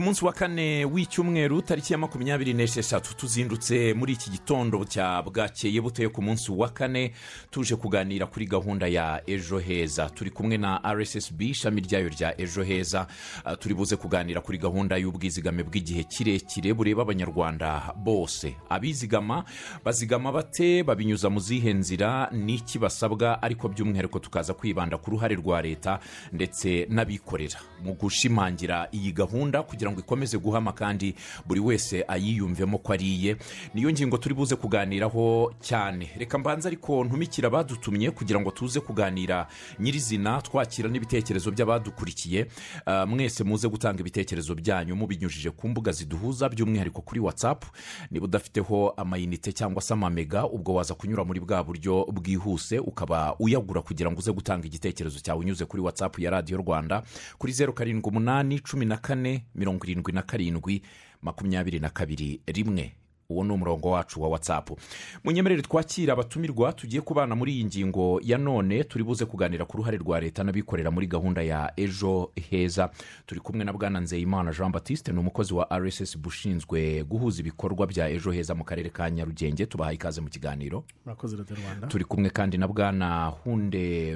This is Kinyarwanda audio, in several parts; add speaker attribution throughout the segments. Speaker 1: munsi wa kane w'icyumweru tariki ya makumyabiri n'esheshatu tuzindutse muri iki gitondo cya bwakeye buteye ku munsi wa kane tuje kuganira kuri gahunda ya ejo heza turi kumwe na rssb ishami ryayo rya ejo heza Ah, turi buze kuganira kuri gahunda y'ubwizigame bw'igihe kirekire bureba abanyarwanda bose abizigama bazigama bate babinyuza mu zihe nzira n'iki basabwa ariko by'umwihariko tukaza kwibanda ku ruhare rwa leta ndetse n'abikorera mu gushimangira iyi gahunda kugira ngo ikomeze guhama kandi buri wese ayiyumvemo ko ari iye niyo ngingo turi buze kuganiraho cyane reka mbanze ariko ntumikira abadutumye kugira ngo tuze kuganira nyirizina twakira n'ibitekerezo by'abadukurikiye Ah, mwese muze gutanga ibitekerezo byanyu mubinyujije ku mbuga ziduhuza by'umwihariko kuri watsapu niba udafiteho amayinite cyangwa se amamega ubwo waza kunyura muri bwa buryo bwihuse ukaba uyagura kugira ngo uze gutanga igitekerezo cyawe unyuze kuri watsapu ya radiyo rwanda kuri zeru karindwi umunani cumi na kane mirongo irindwi na karindwi makumyabiri na kabiri rimwe uwo ni umurongo wacu wa watsapu munyemerere twakira abatumirwa tugiye kubana muri iyi ngingo ya none turi buze kuganira ku ruhare rwa leta n'abikorera muri gahunda ya ejo heza turi kumwe na bwana nzeyimana jean batiste ni umukozi wa rssb ushinzwe guhuza ibikorwa bya ejo heza mu karere ka nyarugenge tubahaye ikaze mu kiganiro
Speaker 2: murakoze leta y'u rwanda
Speaker 1: turi kumwe kandi na bwana hunde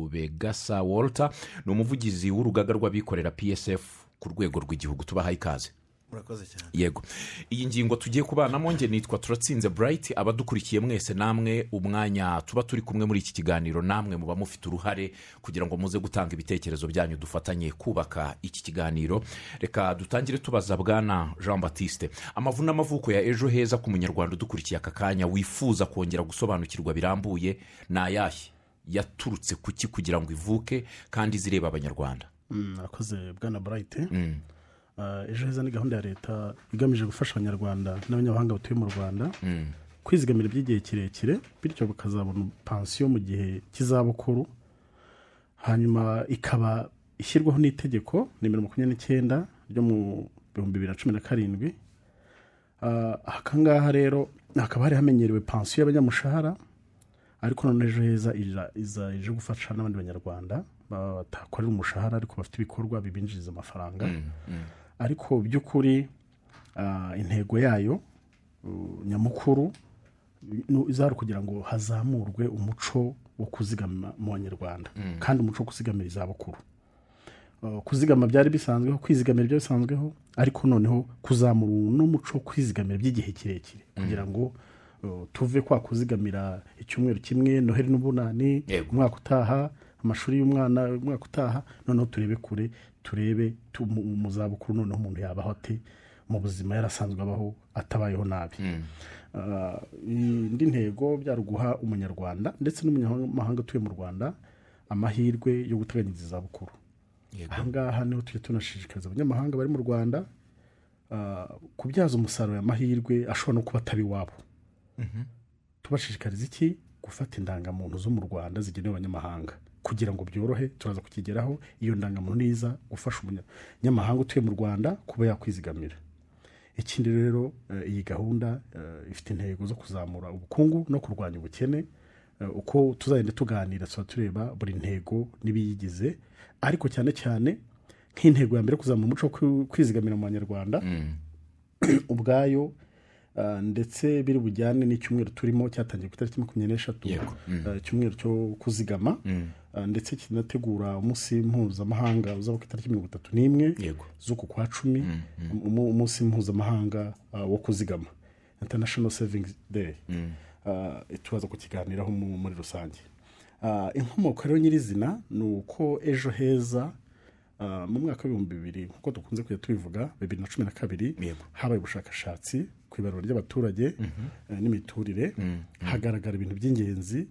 Speaker 1: rubegasa walter ni umuvugizi w'urugaga rw'abikorera psf ku rwego rw'igihugu tubahaye ikaze
Speaker 3: murakoze cyane
Speaker 1: yego iyi ngingo tugiye kubanamo nge nitwa turatsinze burayiti abadukurikiye mwese namwe umwanya tuba turi kumwe muri iki kiganiro namwe muba mufite uruhare kugira ngo muze gutanga ibitekerezo byanyu dufatanye kubaka iki kiganiro reka dutangire tubaza bwana jean batiste amavu n'amavuko ya ejo heza ku munyarwanda udukurikiye aka kanya wifuza kongera gusobanukirwa birambuye ni ayahe yaturutse ku ki kugira ngo ivuke kandi izireba abanyarwanda
Speaker 2: Mm, murakoze bwana burayiti
Speaker 3: Mm.
Speaker 2: Ah, ejo heza ni gahunda ya leta igamije gufasha abanyarwanda n'abanyamahanga batuye mu rwanda
Speaker 3: Mm.
Speaker 2: kwizigamira iby'igihe kirekire bityo bakazabona pansiyo mu gihe cy'izabukuru hanyuma ikaba ishyirwaho n'itegeko nimero makumyabiri n'icyenda ryo mu bihumbi bibiri na cumi na karindwi Ah, aka ngaha rero hakaba hari hamenyerewe pansiyo y'abanyamushahara ariko none ejo heza iza- iza ije gufasha n'abandi banyarwanda baba batakorera umushahara ariko bafite ibikorwa bibinjiriza amafaranga
Speaker 1: Mm.
Speaker 2: ariko by'ukuri ah, intego yayo uh, nyamukuru ni- izahari kugira ngo hazamurwe umuco wo kuzigama mu banyarwanda kandi umuco wo kuzigamira izabukuru Uh, kuzigama byari bisanzweho kwizigamira byari bisanzweho ariko noneho kuzamura n'umuco wo kwizigamira by'igihe kirekire kugira ngo uh, tuve kwa kuzigamira icyumweru kimwe noheli n'ubunani
Speaker 1: Yego.
Speaker 2: umwaka utaha amashuri y'umwana umwaka utaha noneho turebe kure turebe tu- mu- mu zabukuru noneho umuntu yabaho ate mu buzima yarasanzwe abaho atabayeho nabi Ah, indi ntego byari uguha umunyarwanda ndetse n'umunyamahanga utuye mu rwanda amahirwe yo guteganyiriza izabukuru
Speaker 1: Yego.
Speaker 2: ahangaha niho tujya tunashishikariza abanyamahanga bari mu rwanda ah, kubyaza umusaruro aya mahirwe ashobora no kuba ataba iwabo tubashishikariza iki gufata indangamuntu zo mu rwanda zigenewe abanyamahanga kugira ngo byorohe turaza kukigeraho iyo ndangamuntu niza gufasha umunyamahanga utuye mu rwanda kuba yakwizigamira ikindi rero eh, iyi gahunda eh, ifite intego zo kuzamura ubukungu no kurwanya ubukene Eh, uko tuzagenda tuganira tuba tureba buri ntego n'ibiyigize ariko cyane cyane nk'intego ya mbere yo kuzamura umuco wo kwi- kwizigamira mu banyarwanda
Speaker 1: Mm.
Speaker 2: ubwayo ah, ndetse biri bujyane n'icyumweru turimo cyatangiye ku itariki makumyabiri n'eshatu
Speaker 1: Yego. Mm.
Speaker 2: ah, icyumweru cyo kuzigama ah, ndetse kinategura umunsi mpuzamahanga uzaba ku itariki mirongo itatu n'imwe
Speaker 1: Yego.
Speaker 2: z'uku kwa cumi umu- umunsi mpuzamahanga ah, wo kuzigama international savings day Ah, tubaza kukiganiraho mu- muri rusange Ah, inkomoko rero nyirizina ni uko ejo heza ah, mu mwaka w'ibihumbi bibiri nk'uko dukunze kujya tubivuga bibiri na cumi na kabiri
Speaker 1: Yego.
Speaker 2: habaye ubushakashatsi ku ibarura ry'abaturage eh, n'imiturire hagaragara ibintu by'ingenzi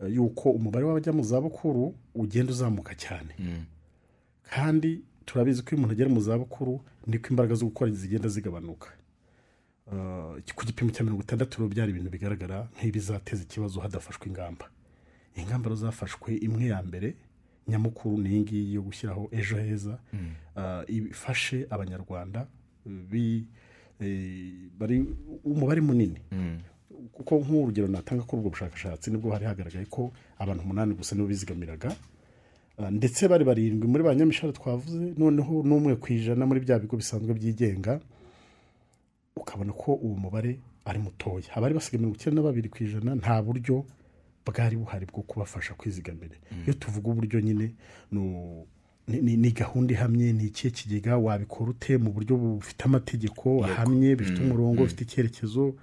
Speaker 2: eh, yuko umubare w'abajya mu zabukuru ugenda uzamuka cyane kandi turabizi ko iyo umuntu agera mu zabukuru niko imbaraga zo gukora zigenda zigabanuka Eh, ku gipimo cya mirongo itandatu rero byari ibintu bigaragara nk'ibizateza ikibazo hadafashwe ingamba ingamba rero zafashwe imwe ya mbere nyamukuru ni iyi ngiyi yo gushyiraho ejo heza eh, ifashe abanyarwanda bi- eh, bari umubare munini kuko nk'urugero natanga kuri ubwo bushakashatsi nibwo hari hagaragaye ko abantu umunani gusa nibo bizigamiraga Ah, ndetse bari barindwi muri ba nyamishara twavuze noneho n'umwe ku ijana muri bya bigo bisanzwe byigenga ukabona ko uwo mubare ari mutoya abari basigaye mirongo icyenda na babiri ku ijana nta buryo bwari buhari bwo kubafasha kwizigamira iyo tuvuga uburyo nyine ni u- ni- ni- ni gahunda ihamye ni ikihe kigega wabikora ute mu buryo bufite amategeko ahamye bifite umurongo bifite icyerekezo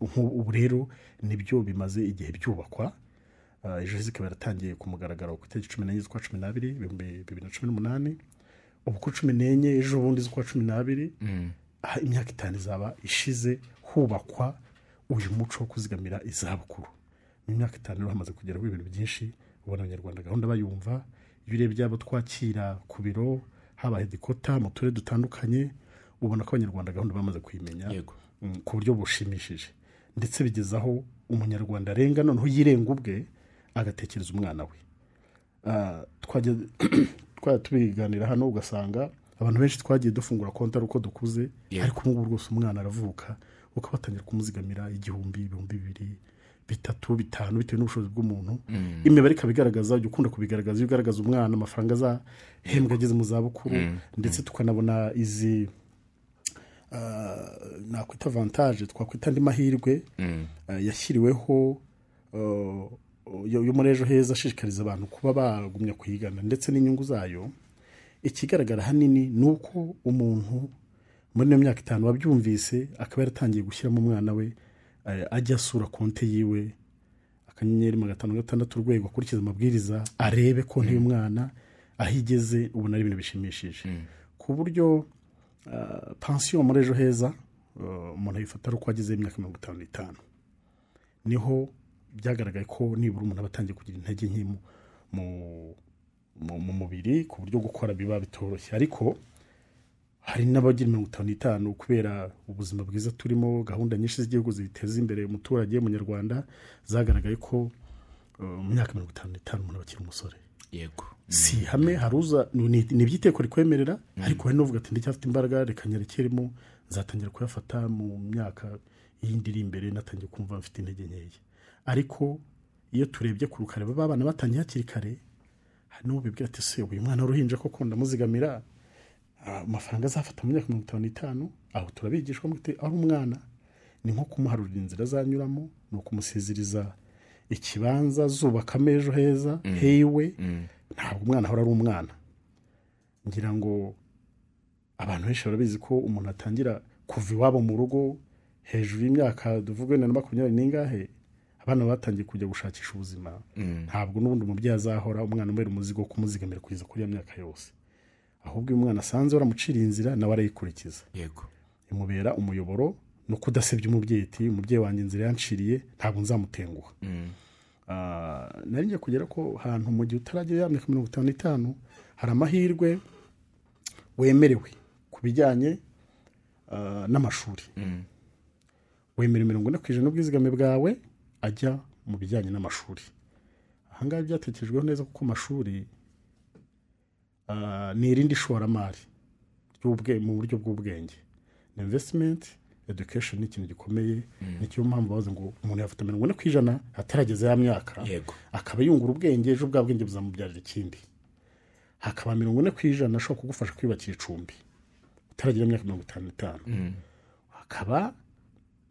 Speaker 2: nk'ubu ubu rero nibyo bimaze igihe byubakwa Ah, ejo heza ikaba yaratangiye ku mugaragaro ku itariki cumi n'enye z'ukwa cumi n'abiri ibihumbi bibiri na cumi n'umunani ubu ku cumi n'enye ejo bundi z'ukwa cumi n'abiri aha imyaka itanu izaba ishize hubakwa uyu muco wo kuzigamira izabukuru mu myaka itanu rero hamaze kugeraho ibintu byinshi ubona abanyarwanda gahunda bayumva iyo urebye abo twakira ku biro haba hedikota mu turere dutandukanye ubona ko abanyarwanda gahunda bamaze kuyimenya
Speaker 1: Yego.
Speaker 2: mm, ku buryo bushimishije ndetse bigeza aho umunyarwanda arenga noneho yirenga ubwe agatekereza umwana we Ah, twajya twajya tubiganira hano ugasanga abantu benshi twagiye dufungura konti ari uko dukuze
Speaker 1: Yeah.
Speaker 2: ariko ubu ngubu rwose umwana aravuka ukaba watangira kumuzigamira igihumbi ibihumbi bibiri bitatu bitanu bitewe n'ubushobozi bw'umuntu imibare ikaba igaragaza ujya ukunda kubigaragaza iyo ugaragaza umwana amafaranga azahembwa ageze mu zabukuru ndetse tukanabona izi uh, nakwita avantage twakwita andi mahirwe uh, yashyiriweho uh, yo yo muri ejo heza ashishikariza abantu kuba bagumya kuyigana ndetse n'inyungu zayo ikigaragara hanini ni uko umuntu muri ino myaka itanu wabyumvise akaba yaratangiye gushyiramo umwana we uh, ajya asura konti yiwe akanyenyeri magana atanu gatandatu urwego akurikiza amabwiriza arebe konti y'umwana aho igeze ubona ari ibintu bishimishije ku buryo uh, pansiyo muri ejo heza uh, umuntu ayifata ari uko ageze imyaka mirongo itanu n'itanu niho byagaragaye ko nibura umuntu aba atangiye kugira intege nke mu, mu, mu, mu mubiri ku buryo gukora biba bitoroshye ariko hari n'abagira mirongo itanu n'itanu kubera ubuzima bwiza turimo gahunda nyinshi z'igihugu ziteza imbere umuturage munyarwanda zagaragaye ko uh, mu myaka mirongo itanu n'itanu umuntu aba akiri umusore
Speaker 1: yego
Speaker 2: si ihame hari uza ni ni ibyiteko rikwemerera ariko hari n'uvuga ati ndacyafite imbaraga reka nyarekiremo nzatangira kuyafata mu myaka y'indi iri imbere natangiye kumva mfite intege nkeya ariko iyo turebye ku rukare baba abana batangiye hakiri kare hari n'ubibwira ati se uyu mwana w'uruhinja koko ndamuzigamira Ah, amafaranga azafata mu myaka mirongo itanu n'itanu aho turabigishwa muti ari umwana ni nko kumuharurira inzira azanyuramo ni ukumusezeriza ikibanza zubakamo ejo heza hewe
Speaker 1: Mm,
Speaker 2: ntabwo umwana ahora ari umwana ngira ngo abantu benshi barabizi ko umuntu atangira kuva iwabo mu rugo hejuru y'imyaka tuvuga wenda na makumyabiri n'ingahe abana batangiye kujya gushakisha ubuzima
Speaker 1: mm.
Speaker 2: ntabwo n'ubundi umubyeyi azahora umwana umubera umuzigo wo kumuzigamira kugeza kuri iyo myaka yose ahubwo iyo umwana asanze waramuciriye inzira nawe arayikurikiza
Speaker 1: yego
Speaker 2: imubera umuyoboro no kudasebya umubyeyi ati umubyeyi wanjye inzira yanciriye ntabwo nzamutenguha Ah, nari ngiye kugera ko ahantu mu gihe utaragera ya myaka mirongo itanu n'itanu hari amahirwe wemerewe ku bijyanye ah, n'amashuri wemerewe mirongo ine ku ijana n'ubwizigame bwawe ajya mu bijyanye n'amashuri ahangaha byatekerejweho neza kuko amashuri ah, ni irindi ishoramari ry'ubwe- mu buryo bw'ubwenge ni invesitimenti education ni ikintu gikomeye nicyo mpamvu bavuze ngo umuntu yafata mirongo ine ku ijana atarageza ya myaka
Speaker 1: Yego.
Speaker 2: akaba yungura ubwenge ejo bwa bwenge buzamubyarira ikindi hakaba mirongo ine ku ijana ashobora kugufasha kwiyubakira icumbi utaragira imyaka mirongo itanu n'itanu hakaba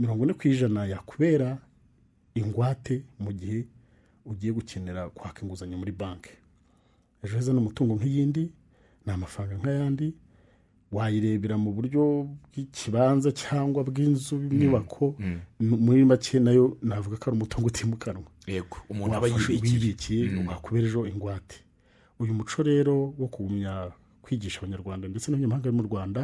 Speaker 2: mirongo ine ku ijana yakubera ingwate mu gihe ugiye gukenera kwaka inguzanyo muri banki ejo heza ni umutungo nk'iyindi ni amafaranga nk'ayandi wayirebera mu buryo bw'ikibanza cyangwa bw'inzu inyubako muri make nayo navuga ko ari umutungo utimukanwa
Speaker 1: yego umuntu aba Mm.
Speaker 2: wafashe
Speaker 1: yibikiye
Speaker 2: wibikiye wakubera ejo ingwate uyu muco rero wo kugumya kwigisha abanyarwanda ndetse n'abanyamahanga bari mu rwanda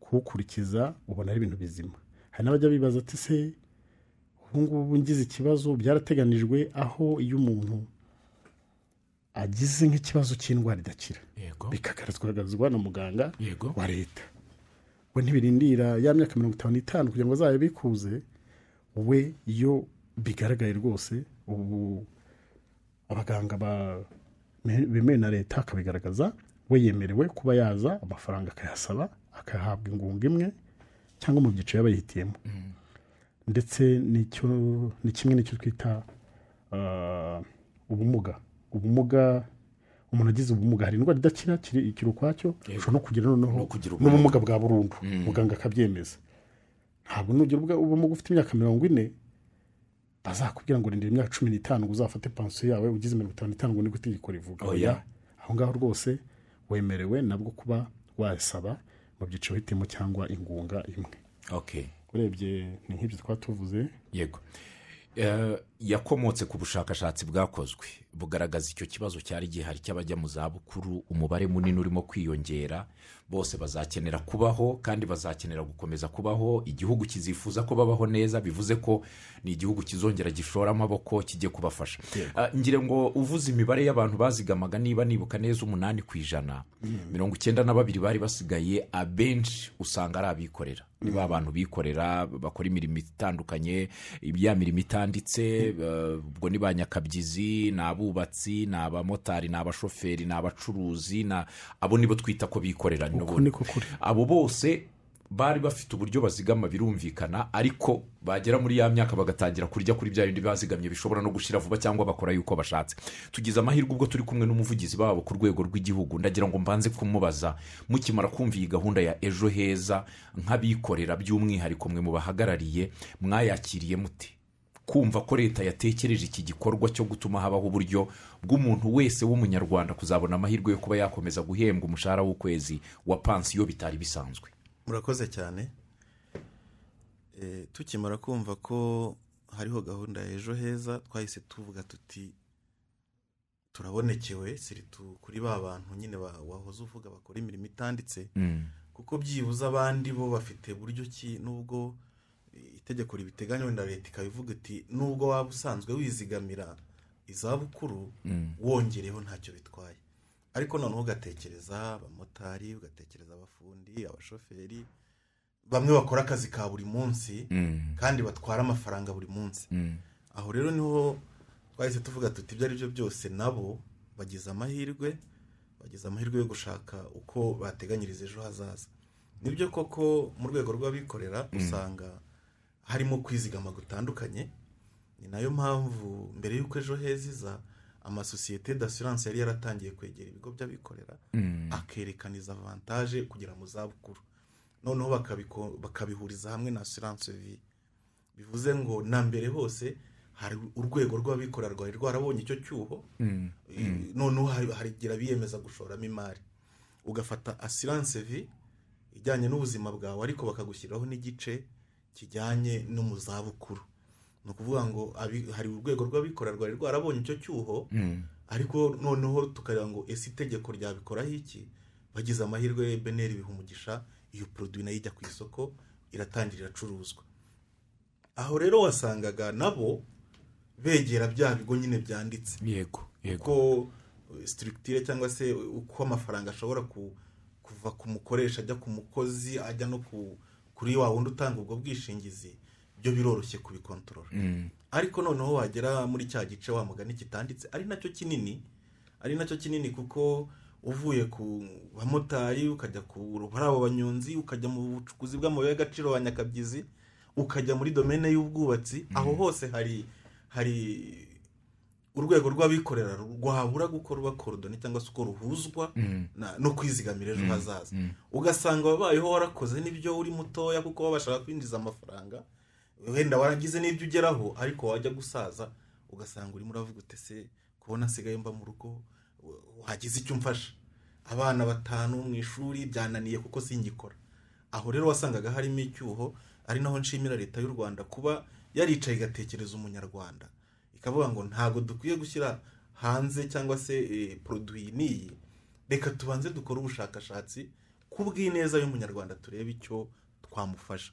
Speaker 2: kuwukurikiza ubona ari ibintu bizima hari n'abajya bibaza ati se ubu ngubu ngize ikibazo byarateganijwe aho iyo umuntu agize nk'ikibazo cy'indwara idakira
Speaker 1: yego
Speaker 2: bikagaragazwa na muganga
Speaker 1: yego
Speaker 2: wa leta we ntibirindira ya myaka mirongo itanu n'itanu kugira ngo azayabikuze we iyo bigaragaye rwose ubu abaganga ba- me- bemewe na leta akabigaragaza we yemerewe kuba yaza amafaranga akayasaba akayahabwa ingunga imwe cyangwa mu byiciro yaba yihitiyemo
Speaker 1: Mm.
Speaker 2: ndetse n'icyo- ni kimwe n'icyo twita ah, ubumuga ubumuga umuntu agize ubumuga hari indwara idakira kiri ikiri ukwacyo ushobora no kugira noneho
Speaker 1: No kugira ubumuga. Mm.
Speaker 2: n'ubumuga bwa burundu muganga akabyemeza ntabwo nugira ubwa- ubumuga ufite imyaka mirongo ine bazakubwira ngo rindira imyaka cumi n'itanu ngo uzafate pansiyo yawe ugize mirongo itanu n'itanu ngo nibwo itegeko rivuga
Speaker 1: Oya.
Speaker 2: aho ngaho rwose wemerewe nabwo kuba wasaba mu byiciro hitimo cyangwa ingunga imwe
Speaker 1: okay
Speaker 2: urebye ni nk'ibyo twatuvuze
Speaker 1: yego Eh, yakomotse ku bushakashatsi bwakozwe bugaragaza icyo kibazo cyari gihari cy'abajya mu zabukuru umubare munini urimo kwiyongera bose bazakenera kubaho kandi bazakenera gukomeza kubaho igihugu kizifuza ko babaho neza bivuze ko ni igihugu kizongera gishora amaboko kijye kubafasha Ah, ngira ngo uvuze imibare y'abantu bazigamaga niba nibuka neza umunani ku ijana
Speaker 2: Mm.
Speaker 1: mirongo icyenda na babiri bari basigaye abenshi usanga ari abikorera ni
Speaker 2: Mm.
Speaker 1: ba bantu bikorera bakora imirimo itandukanye ya mirimo itanditse
Speaker 2: Mm.
Speaker 1: eh, ubwo ni ba nyakabyizi ni abubatsi ni abamotari ni abashoferi ni abacuruzi ni abo nibo twita ko bikorera ni
Speaker 2: uko
Speaker 1: bo-
Speaker 2: niko kuri
Speaker 1: abo bose bari bafite uburyo bazigama birumvikana ariko bagera muri ya myaka bagatangira kurya kuri bya bindi bazigamye bishobora no gushira vuba cyangwa bakora yuko bashatse tugize amahirwe ubwo turi kumwe n'umuvugizi wabo ku rwego rw'igihugu ndagira ngo mbanze kumubaza mukimara kumva iyi gahunda ya ejo heza nk'abikorera by'umwihariko mwe mubahagarariye mwayakiriye mute kumva ko leta yatekereje iki gikorwa cyo gutuma habaho uburyo bw'umuntu wese w'umunyarwanda kuzabona amahirwe yo kuba yakomeza guhembwa umushahara w'ukwezi wa pansiyo bitari bisanzwe
Speaker 3: murakoze cyane Eh, tukimara kumva ko hariho gahunda ya ejo heza twahise tuvuga tuti turabonekewe siritu kuri ba bantu nyine ba- wahoze uvuga bakora imirimo itanditse
Speaker 1: Mm,
Speaker 3: kuko byibuze abandi bo bafite buryo ki nubwo eh, itegeko ribiteganya wenda leta ikaba ivuga iti nubwo waba usanzwe wizigamira izabukuru wongereho ntacyo bitwaye ariko noneho ugatekereza abamotari ugatekereza abafundi abashoferi bamwe bakora akazi ka buri munsi
Speaker 1: mm.
Speaker 3: kandi batwara amafaranga buri munsi aho rero niho twahise tuvuga tuti ibyo ari byo byose nabo bagize amahirwe bagize amahirwe yo gushaka uko bateganyiriza ejo hazaza nibyo koko mu rwego rw'abikorera usanga harimo kwizigama gutandukanye ni nayo mpamvu mbere y'uko ejo heza iza amasosiyete d'assurance yari yaratangiye kwegera ibigo by'abikorera akerekana izo avantage kugera mu zabukuru noneho bakabiko- bakabihuriza hamwe na assurance vie bivuze ngo na mbere hose hari urwego rw'abikorera rwari rwarabonye icyo cyuho Eh, noneho hari- harigira biyemeza gushoramo imari ugafata assurance vi ijyanye n'ubuzima bwawe ariko bakagushyiriraho n'igice kijyanye no mu zabukuru ni ukuvuga ngo abi- hari urwego rw'abikorera rwari rwarabonye icyo cyuho ariko noneho tukareba ngo ese itegeko ryabikoraho iki bagize amahirwe beneri bihumugisha iyo poroduwi nayo ijya ku isoko iratangira iracuruzwa aho rero wasangaga nabo begera bya bigo nyine byanditse
Speaker 1: yego yego
Speaker 3: uko sitirikitire cyangwa se uko amafaranga ashobora ku- kuva ku mukoresha ajya ku mukozi ajya no ku- kuri wa wundi utanga ubwo bwishingizi byo biroroshye kubikontorora ariko noneho wagera muri cya gice wa mugani kitanditse ari nacyo kinini ari nacyo kinini kuko uvuye ku bamotari ukajya ku muri abo banyonzi ukajya mu bucukuzi bw'amabuye y'agaciro ba nyakabyizi ukajya muri domene y'ubwubatsi aho hose hari hari urwego rw'abikorera rwabura gukorwa korodoni cyangwa se uko ruhuzwa na- no kwizigamira ejo hazaza ugasanga wabayeho warakoze n'ibyo uri mutoya kuko baba bashaka kwinjiza amafaranga wenda waragize n'ibyo ugeraho ariko wajya gusaza ugasanga urimo uravuga utese kubona nsigaye mba mu rugo w- wagize icyo umfasha abana batanu mu ishuri byananiye kuko singikora aho rero wasangaga harimo icyuho ari naho nshimira leta y'u rwanda kuba yaricaye igatekereza umunyarwanda ikavuga ngo ntabwo dukwiye gushyira hanze cyangwa se eh, poroduwi n'iyi reka tubanze dukore ubushakashatsi ku bw'ineza y'umunyarwanda turebe icyo twamufasha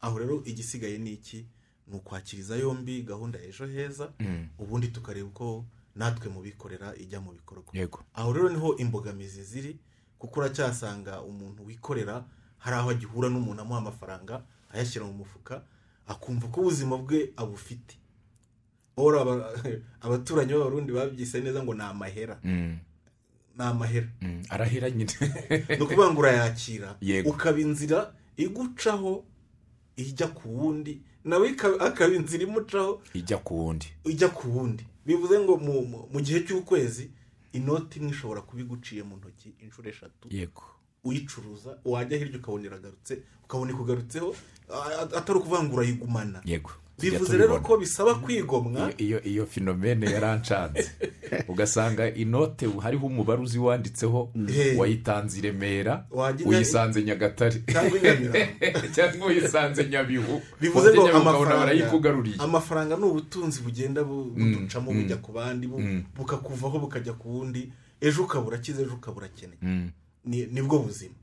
Speaker 3: aho rero igisigaye ni iki ni ukwakiriza yombi gahunda ya ejo heza ubundi tukareba uko natwe mu bikorera ijya mu bikorwa
Speaker 1: yego
Speaker 3: aho rero niho imbogamizi ziri kuko uracyasanga umuntu wikorera hari aho agihura n'umuntu amuha amafaranga ayashyira mu mufuka akumva ko ubuzima bwe abufite ora aba- abaturanyi b'abarundi babyise neza ngo ni amahera
Speaker 1: Mm,
Speaker 3: ni amahera
Speaker 1: mm, arahera nyine
Speaker 3: ni ukuvuga ngo urayakira
Speaker 1: Yego.
Speaker 3: ukaba inzira igucaho ijya ku wundi nawe ikaba- akaba inzira imucaho
Speaker 1: ijya ku wundi
Speaker 3: ijya ku wundi bivuze ngo mu, mu, mu gihe cy'ukwezi inoti imwe ishobora kuba iguciye mu ntoki inshuro eshatu
Speaker 1: yego
Speaker 3: uyicuruza wajya hirya ukabona iragarutse ukabona ikugarutseho a- a- atari ukuvangura urayigumana
Speaker 1: yego
Speaker 3: bivuze
Speaker 1: Tujya
Speaker 3: rero
Speaker 1: tubibona.
Speaker 3: ko bisaba kwigomwa
Speaker 1: I- iyo iyo finomene yarancanze ugasanga inote hariho umubare uzi wanditseho
Speaker 3: Hey.
Speaker 1: wayitanze i remera
Speaker 3: Wagira-
Speaker 1: uyisanze nyagatare
Speaker 3: cyangwa inyamirambo
Speaker 1: cyangwa uyisanze nyabihu
Speaker 3: bivuze
Speaker 1: Wajya
Speaker 3: ngo
Speaker 1: Nyabihu ukabona barayikugaruriye
Speaker 3: amafaranga amafaranga ni ubutunzi bugenda bu- buducamo bujya ku bandi bu-
Speaker 1: Mm.
Speaker 3: bukakuvaho bukajya ku wundi ejo ukaba urakize ejo ukaba urakene
Speaker 1: Mm.
Speaker 3: Ni- nibwo buzima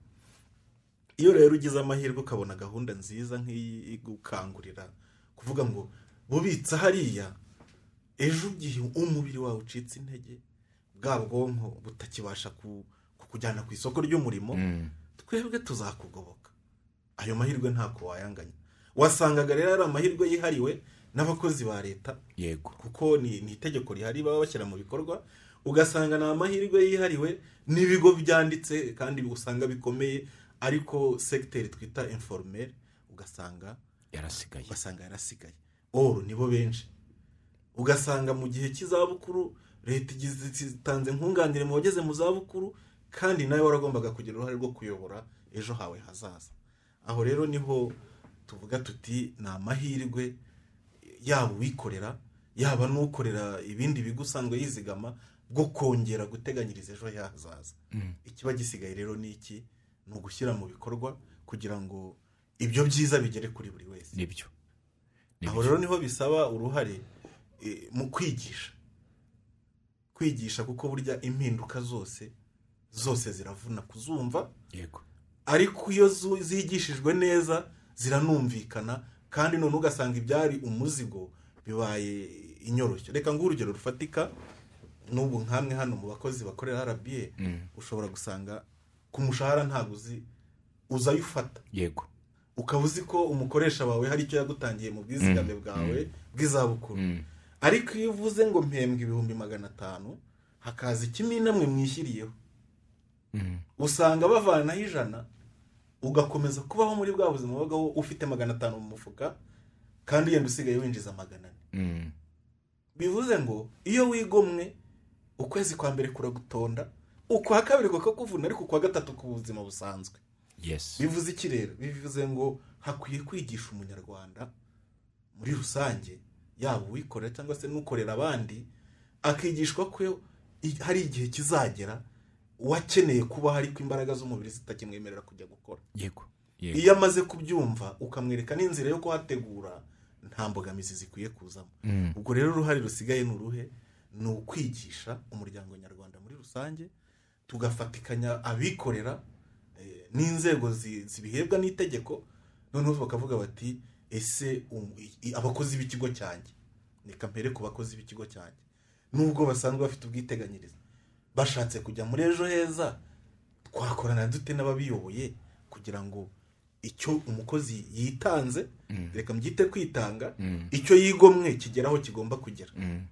Speaker 3: iyo rero ugize amahirwe ukabona gahunda nziza nk'iyi igukangurira kuvuga ngo bubitsa hariya ejo igihe umubiri wawe ucitse intege bwa bwonko butakibasha ku- kukujyana ku isoko ry'umurimo
Speaker 1: Mm.
Speaker 3: twebwe tuzakugoboka ayo mahirwe ntako wayanganya wasangaga rero ari amahirwe yihariwe n'abakozi ba leta
Speaker 1: yego
Speaker 3: kuko ni ni itegeko rihari baba bashyira mu bikorwa ugasanga ni amahirwe yihariwe n'ibigo byanditse kandi usanga bikomeye ariko segiteri twita inforomeri ugasanga
Speaker 1: yarasigaye
Speaker 3: ugasanga yarasigaye oru nibo benshi ugasanga mu gihe cy'izabukuru leta igize itanze nkunganire mu bageze mu zabukuru kandi nawe waragombaga kugira uruhare rwo kuyobora ejo hawe hazaza aho rero niho tuvuga tuti ni amahirwe yaba uwikorera yaba n'ukorera ibindi bigo usanzwe yizigama bwo kongera guteganyiriza ejo he hazaza ikiba gisigaye rero ni iki ni ugushyira mu bikorwa kugira ngo ibyo byiza bigere kuri buri wese
Speaker 1: nibyo
Speaker 3: aho rero niho bisaba uruhare eh, mu kwigisha kwigisha kuko burya impinduka zose zose ziravuna kuzumva
Speaker 1: yego
Speaker 3: ariko iyo zu- zigishijwe neza ziranumvikana kandi none ugasanga ibyari umuzigo bibaye inyoroshyo reka nguhe urugero rufatika n'ubu nkamwe hano mu bakozi bakorera rba ushobora gusanga ku mushahara ntabwo uzi uza ayo ufata
Speaker 1: yego
Speaker 3: ukaba uzi ko umukoresha wawe hari icyo yagutangiye mu bwizigame bwawe bw'izabukuru
Speaker 1: Mm.
Speaker 3: ariko iyo uvuze ngo mpembwe ibihumbi magana atanu hakaza ikimina mwe mwishyiriyeho
Speaker 1: Mm.
Speaker 3: usanga bavanaho ijana ugakomeza kubaho muri bwa buzima wabagaho ufite magana atanu mu mufuka kandi yenda usigaye winjiza magana ane
Speaker 1: Mm.
Speaker 3: bivuze ngo iyo wigomwe ukwezi kwa mbere kuragutonda ukwa kabiri kukakuvuna ariko ukwa gatatu ku buzima busanzwe
Speaker 1: yes
Speaker 3: bivuze iki rero bivuze ngo hakwiye kwigisha umunyarwanda muri rusange yaba uwikorera cyangwa se n'ukorera abandi akigishwa ko i- hari igihe kizagera uwakeneye kubaho ariko imbaraga z'umubiri zitakimwemerera kujya gukora
Speaker 1: yego
Speaker 3: iyo amaze kubyumva ukamwereka n'inzira yo kuhategura nta mbogamizi zikwiye kuzamo
Speaker 1: Mm.
Speaker 3: ubwo rero uruhare rusigaye ni uruhe ni ukwigisha umuryango nyarwanda muri rusange tugafatikanya abikorera eh, n'inzego zi- zibihebwa n'itegeko noneho bakavuga bati ese um- i- i- abakozi b'ikigo cyanjye reka mpere ku bakozi b'ikigo cyanjye nubwo basanzwe bafite ubwiteganyirize bashatse kujya muri ejo heza twakorana dute n'ababiyoboye kugira ngo icyo umukozi yitanze reka mbyite kwitanga
Speaker 1: Mm.
Speaker 3: icyo yigomwe kigeraho kigomba kugera
Speaker 1: Mm.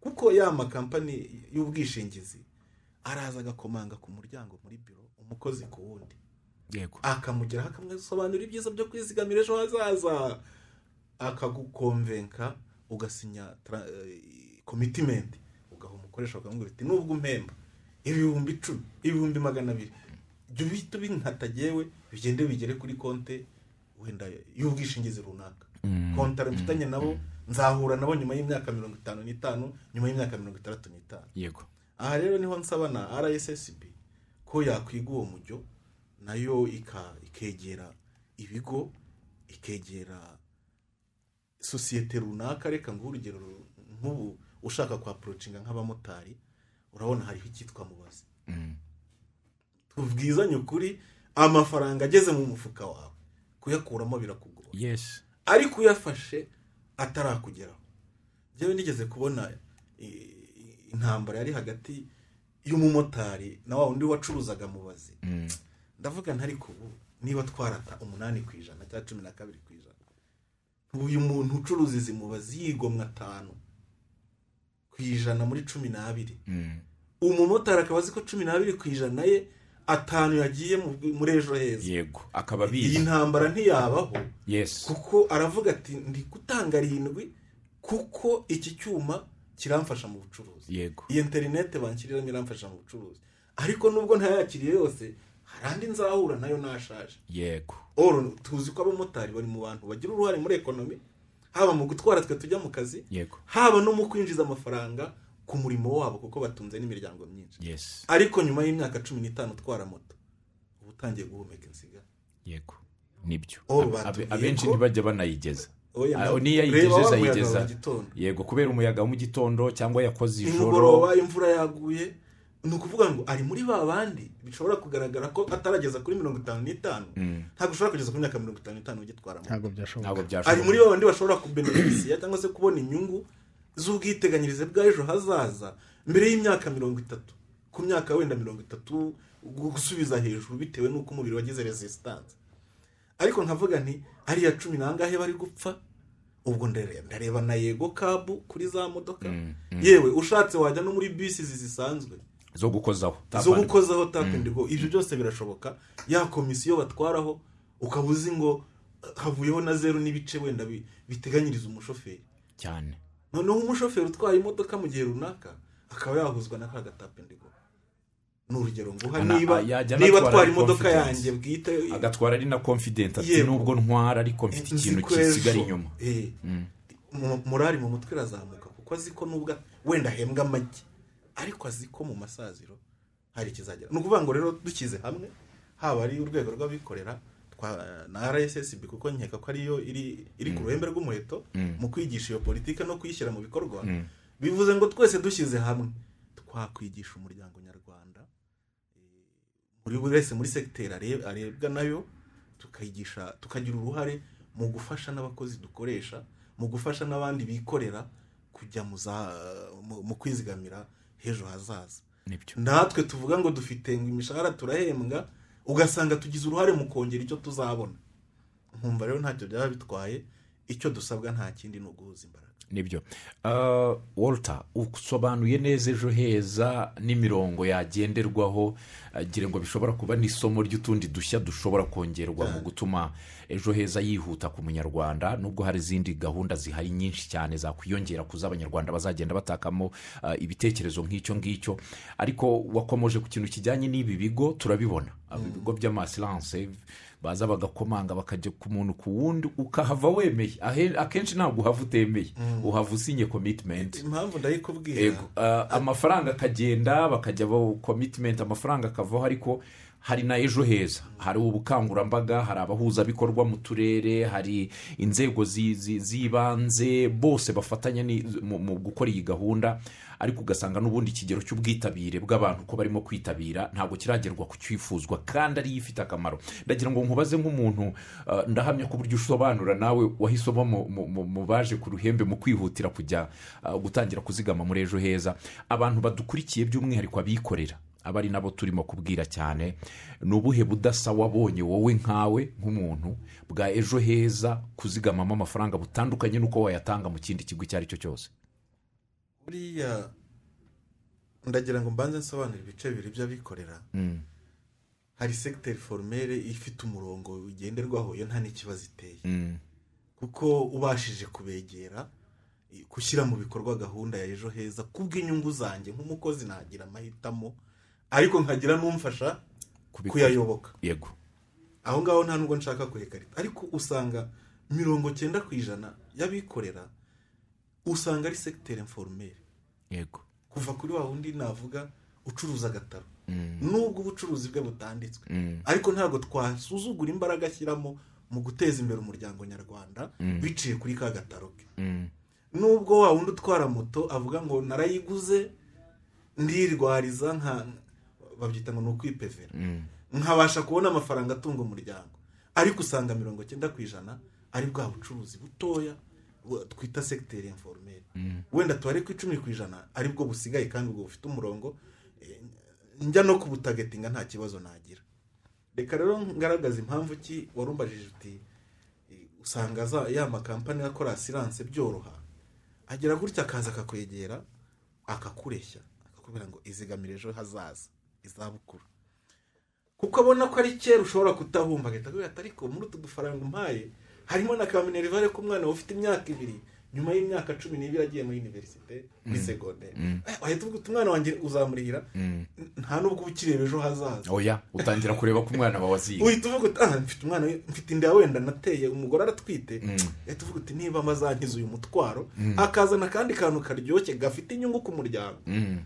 Speaker 3: kuko ya makampani y'ubwishingizi araza agakomanga ku muryango muri biro umukozi ku wundi
Speaker 1: yego
Speaker 3: akamugeraho akamwisobanurira ibyiza byo kwizigamira ejo hazaza akagukomvenka ugasinya tra- eh, commitment ugaha umukoresha bakamubwira uti nubwo umpemba ibihumbi icumi ibihumbi magana abiri jya uhita ubinkatagewe bigende bigere kuri konte wenda y'ubwishingizi runaka kontara mfitanye nabo nzahura nabo nyuma y'imyaka mirongo itanu n'itanu nyuma y'imyaka mirongo itandatu n'itanu
Speaker 1: yego
Speaker 3: aha rero niho nsaba na rssb ko yakwiga uwo mujyo nayo ika- ikegera ibigo ikegera sosiyete runaka reka nguhe urugero nk'ubu ushaka kwapurocinga nk'abamotari urabona hariho icyitwa mubazi
Speaker 1: Mm.
Speaker 3: tubwizanye ukuri amafaranga ageze mu mufuka wawe kuyakuramo birakugora
Speaker 1: yes
Speaker 3: ariko uyafashe atarakugeraho njyewe nigeze kubona i- i- intambara yari hagati y'umumotari na wa wundi wacuruzaga mubazi
Speaker 1: Mm.
Speaker 3: ndavuga nti ariko ubu niba twarata umunani ku ijana cyangwa cumi na kabiri ku ijana uyu muntu ucuruza izi mubazi yigomwa atanu ku ijana muri cumi n'abiri
Speaker 1: Mm.
Speaker 3: umumotari akaba azi ko cumi n'abiri ku ijana ye atanu yagiye mu- muri ejo heza
Speaker 1: yego akaba
Speaker 3: iyi
Speaker 1: abizi
Speaker 3: ntambara ntiyabaho
Speaker 1: yes
Speaker 3: kuko aravuga ati ndi gutanga arindwi kuko iki cyuma kiramfasha mu bucuruzi
Speaker 1: yego
Speaker 3: iyi interineti banshyiriramo iramfasha mu bucuruzi ariko nubwo ntayakiriye yose hari andi nzahura nayo nashaje
Speaker 1: yego
Speaker 3: oro tuzi ko abamotari bari mu bantu bagira uruhare muri ekonomi haba mu gutwara twe tujya mu kazi
Speaker 1: yego
Speaker 3: haba no mu kwinjiza amafaranga ku murimo wabo kuko batunze n'imiryango myinshi
Speaker 1: yesi
Speaker 3: ariko nyuma y'imyaka cumi n'itanu utwara moto uba utangiye guhumeka insiga
Speaker 1: yego nibyo
Speaker 3: Oh,
Speaker 1: Abe-
Speaker 3: batubwiye
Speaker 1: abe- abenshi
Speaker 3: ko-
Speaker 1: ntibajya banayigeza
Speaker 3: Oya,
Speaker 1: Ah,
Speaker 3: ndawe-
Speaker 1: niyo
Speaker 3: reba wa
Speaker 1: ayigeze
Speaker 3: muyaga
Speaker 1: ayigeza
Speaker 3: wa gitondo.
Speaker 1: yego kubera umuyaga wo mu gitondo cyangwa yakoze ijoro
Speaker 3: nimugoroba imvura yaguye ni ukuvuga ngo ari muri ba bandi bishobora kugaragara ko atarageza kuri mirongo itanu n'itanu ntabwo ushobora kugeza ku myaka mirongo itanu n'itanu ugitwara moto
Speaker 2: ntabwo byashoboka
Speaker 1: ntabwo
Speaker 3: ari muri
Speaker 1: byashoboka
Speaker 3: ba bandi bashobora kubenefisiya cyangwa se kubona inyungu z'ubwiteganyirize bw'ejo hazaza mbere y'imyaka mirongo itatu ku myaka wenda mirongo itatu gu- gusubiza hejuru bitewe n'uko umubiri wagize resisitanse ariko nkavuga nti hariya cumi n'angahe bari gupfa ubwo ndare- ndareba na yego kabu kuri za modoka yewe ushatse wajya no muri bisi izi zisanzwe
Speaker 1: zo gukozaho
Speaker 3: zo gukozaho
Speaker 1: Mm.
Speaker 3: tapendigo ibyo byose birashoboka ya komisiyo batwaraho ukaba uzi ngo eh, havuyeho na zeru n'ibice wenda bi- biteganyiriza umushoferi
Speaker 1: cyane
Speaker 3: noneho umushoferi utwaye imodoka mu gihe runaka akaba yahuzwa na ka gatapendigo ni urugero nguha
Speaker 1: Ana-
Speaker 3: niba
Speaker 1: yajya
Speaker 3: niba
Speaker 1: anatwara
Speaker 3: atwara imodoka
Speaker 1: confidence.
Speaker 3: yanjye bwite
Speaker 1: agatwara ari na confident ati
Speaker 3: Yego.
Speaker 1: nubwo ntwara ariko mfite ikintu kisigara inyuma
Speaker 3: Eh, mu- morali mu mutwe irazamuka kuko azi ko nubwo wenda ahembwa amagi ariko azi ko mu masaziro hari ikizagera ni ukuvuga ngo rero dushyize hamwe haba ari urwego rw'abikorera twa- na rssb kuko nkeka ko ariyo iri iri
Speaker 1: Mm.
Speaker 3: ku ruhembe rw'umuheto mu kwigisha iyo politiki no kuyishyira mu bikorwa
Speaker 1: Mm.
Speaker 3: bivuze ngo twese dushyize hamwe twakwigisha umuryango nyarwanda buri wese muri segiteri areb- arebwa nayo tukayigisha tukagira uruhare mu gufasha n'abakozi dukoresha mu gufasha n'abandi bikorera kujya mu za mu- mu kwizigamira h'ejo hazaza
Speaker 1: nibyo
Speaker 3: natwe tuvuga ngo dufite ngo imishahara turahembwa ugasanga tugize uruhare mu kongera icyo tuzabona nkumva rero ntacyo byaba bitwaye icyo dusabwa nta kindi ni uguhuza imbaraga
Speaker 1: nibyo Ah, walter usobanuye neza ejo heza n'imirongo yagenderwaho ah, ngira ngo bishobora kuba n'isomo ry'utundi dushya dushobora kongerwa mu gutuma ejo heza yihuta ku munyarwanda nubwo hari izindi gahunda zihari nyinshi cyane zakwiyongera ku z'abanyarwanda bazagenda batakamo ah, ibitekerezo nk'icyo ngicyo ariko wakomoje ku kintu kijyanye n'ibi bigo turabibona Ah, ibigo by'amasiranse baza bagakomanga bakajya ku muntu ku wundi ukahava wemeye Ahe- akenshi ntabwo uhava utemeye uhava usinye komitimenti
Speaker 3: impamvu ndayikubwira
Speaker 1: Ego, ah, amafaranga akagenda bakajya bo komitimenti amafaranga akavaho ariko hari na ejo heza hari ubukangurambaga hari abahuzabikorwa mu turere hari inzego zi- zi- z'ibanze bose bafatanya ni- mu mu gukora iyi gahunda ariko ugasanga n'ubundi ikigero cy'ubwitabire bw'abantu ko barimo kwitabira ntabwo kiragerwa ku cyifuzwa kandi ariyo ifite akamaro ndagira ngo nkubaze nk'umuntu ah, ndahamya ku buryo usobanura nawe wahise uba mu- mu- mu mu baje ku ruhembe mu kwihutira kujya ah, gutangira kuzigama muri ejo heza abantu badukurikiye by'umwihariko abikorera aba ari nabo turimo kubwira cyane ni ubuhe budasa wabonye wowe nkawe nk'umuntu bwa ejo heza kuzigamamo amafaranga butandukanye n'uko wayatanga mu kindi kigo icyo ari cyo cyose
Speaker 3: buriya ndagira ngo mbanze nsobanure ibice bibiri by'abikorera
Speaker 1: Mm,
Speaker 3: hari segiteri foromere ifite umurongo ugenderwaho yo nta n'ikibazo iteye
Speaker 1: mm,
Speaker 3: kuko ubashije kubegera i- gushyira mu bikorwa gahunda ya ejo heza kubw'inyungu zanjye nk'umukozi nagira amahitamo ariko nkagira n'umfasha
Speaker 1: kubikora.
Speaker 3: kuyayoboka
Speaker 1: yego
Speaker 3: aho ngaho nta nubwo nshaka kureka leta ariko usanga mirongo cyenda ku ijana y'abikorera usanga ari segiteri inforomere
Speaker 1: yego
Speaker 3: kuva kuri wa wundi navuga ucuruza agataro
Speaker 1: Mm,
Speaker 3: nubwo ubucuruzi bwe butanditswe
Speaker 1: mm,
Speaker 3: ariko ntabwo twasuzugura imbaraga ashyiramo mu guteza imbere umuryango nyarwanda biciye kuri ka gataro ke
Speaker 1: mm,
Speaker 3: nubwo wa wundi utwara moto avuga ngo narayiguze ndirwariza nka babyita ngo ni ukwipevera
Speaker 1: mm.
Speaker 3: nkabasha kubona amafaranga atunga umuryango ariko usanga mirongo cyenda ku ijana ari bwa bucuruzi butoya bu- twita segiteri inforomeri wenda tubare ku icumi ku ijana aribwo busigaye kandi ubwo bufite umurongo eh, njya no kubutagetinga nta kibazo nagira reka rero ngaragaza impamvu ki wari umbajije uti eh, usanga za- ya makampani akora asiranse byoroha agera gutya akaza akakwegera akakureshya akakubwira ngo izigamire ejo hazaza izabukuru kuko abona ko ari kera ushobora kutahumba agahita akubwira ati ariko muri utu dufaranga umpaye harimo na ka minerivare k'umwana we ufite imyaka ibiri nyuma y'imyaka cumi n'ibiri agiye muri univerisite muri segonderi Eh, wahita uvuga uti umwana wanjye uzamurihira nta n'ubwo uba ukireba ejo hazaza
Speaker 1: oya utangira kureba ko umwana wawe aziye
Speaker 3: uhita uvuga uti ah mfite umwana we- mfite inda wenda nateye umugore aratwite uhita uvuga uti niba mazankiza uyu mutwaro akazana akandi kantu karyoshye gafite inyungu ku muryango
Speaker 1: Mm.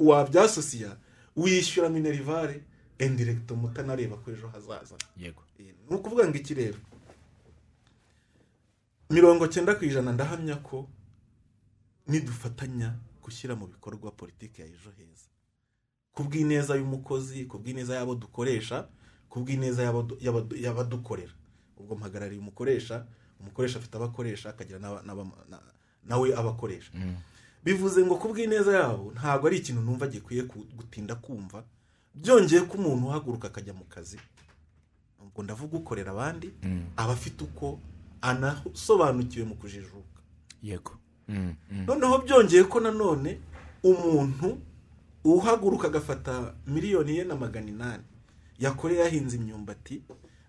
Speaker 3: wabyasosiya wishyura minerivare indiregito mutanareba ko ejo hazaza
Speaker 1: yego
Speaker 3: Eh, ni ukuvuga ngo iki rero mirongo cyenda ku ijana ndahamya ko nidufatanya gushyira mu bikorwa politiki ya ejo heza ku bw'ineza y'umukozi ku bw'ineza y'abo dukoresha ku bw'ineza y'abadu- y'abadu- y'abadukorera ubwo mpagarariye umukoresha umukoresha afite abakoresha akagira n'aba- n'aba- na- nawe abakoresha bivuze ngo ku bw'ineza yabo ntabwo ari ikintu numva gikwiye ku- gutinda kumva byongeye ko umuntu uhaguruka akajya mu kazi ubwo ndavuga ukorera abandi aba afite uko anasobanukiwe mu kujijuka
Speaker 1: yego Mm, mm.
Speaker 3: noneho byongeye ko nanone umuntu uhaguruka agafata miliyoni ye na magana inani yakoreye yahinze imyumbati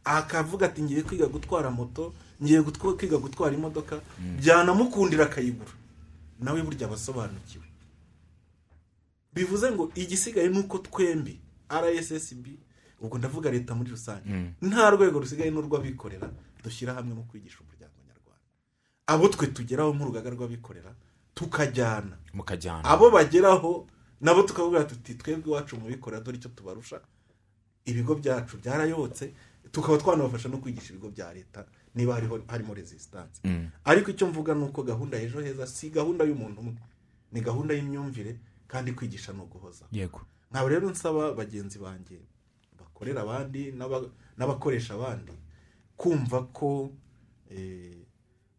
Speaker 3: akavuga ati ngiye kwiga gutwara moto ngiye gutwa- kwiga gutwara imodoka byanamukundira akayigura nawe burya aba asobanukiwe bivuze ngo igisigaye ni uko twembi rssb ubwo ndavuga leta muri rusange nta rwego rusigaye n'urw'abikorera dushyira hamwe mu kwigisha umuryango nyarwanda abo twe tugeraho nk'urugaga rw'abikorera tukajyana
Speaker 1: mukajyana
Speaker 3: abo bageraho nabo tukavuga tuti twebwe iwacu mu bikorera dore icyo tubarusha ibigo byacu byarayobotse tukaba twanabafasha no kwigisha ibigo bya leta niba hariho harimo resisitanse ariko icyo mvuga ni uko gahunda ya ejo heza si gahunda y'umuntu umwe ni gahunda y'imyumvire kandi kwigisha ni uguhoza
Speaker 1: yego
Speaker 3: nkaba rero nsaba bagenzi banjye bakorera abandi n'aba- n'abakoresha abandi kumva ko eh,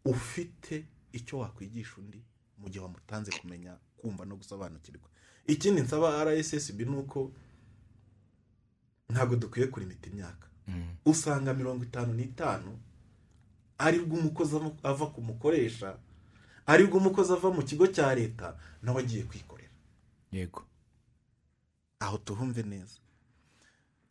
Speaker 3: ufite icyo wakwigisha undi mu gihe wamutanze kumenya kumva no gusobanukirwa ikindi nsaba rssb ni uko ntabwo dukwiye kurimita imyaka
Speaker 1: Mm.
Speaker 3: usanga mirongo itanu n'itanu aribwo umukozi ava- ava ku mukoresha aribwo umukozi ava mu kigo cya leta nawe agiye kwikorera
Speaker 1: yego
Speaker 3: aho tuhumve neza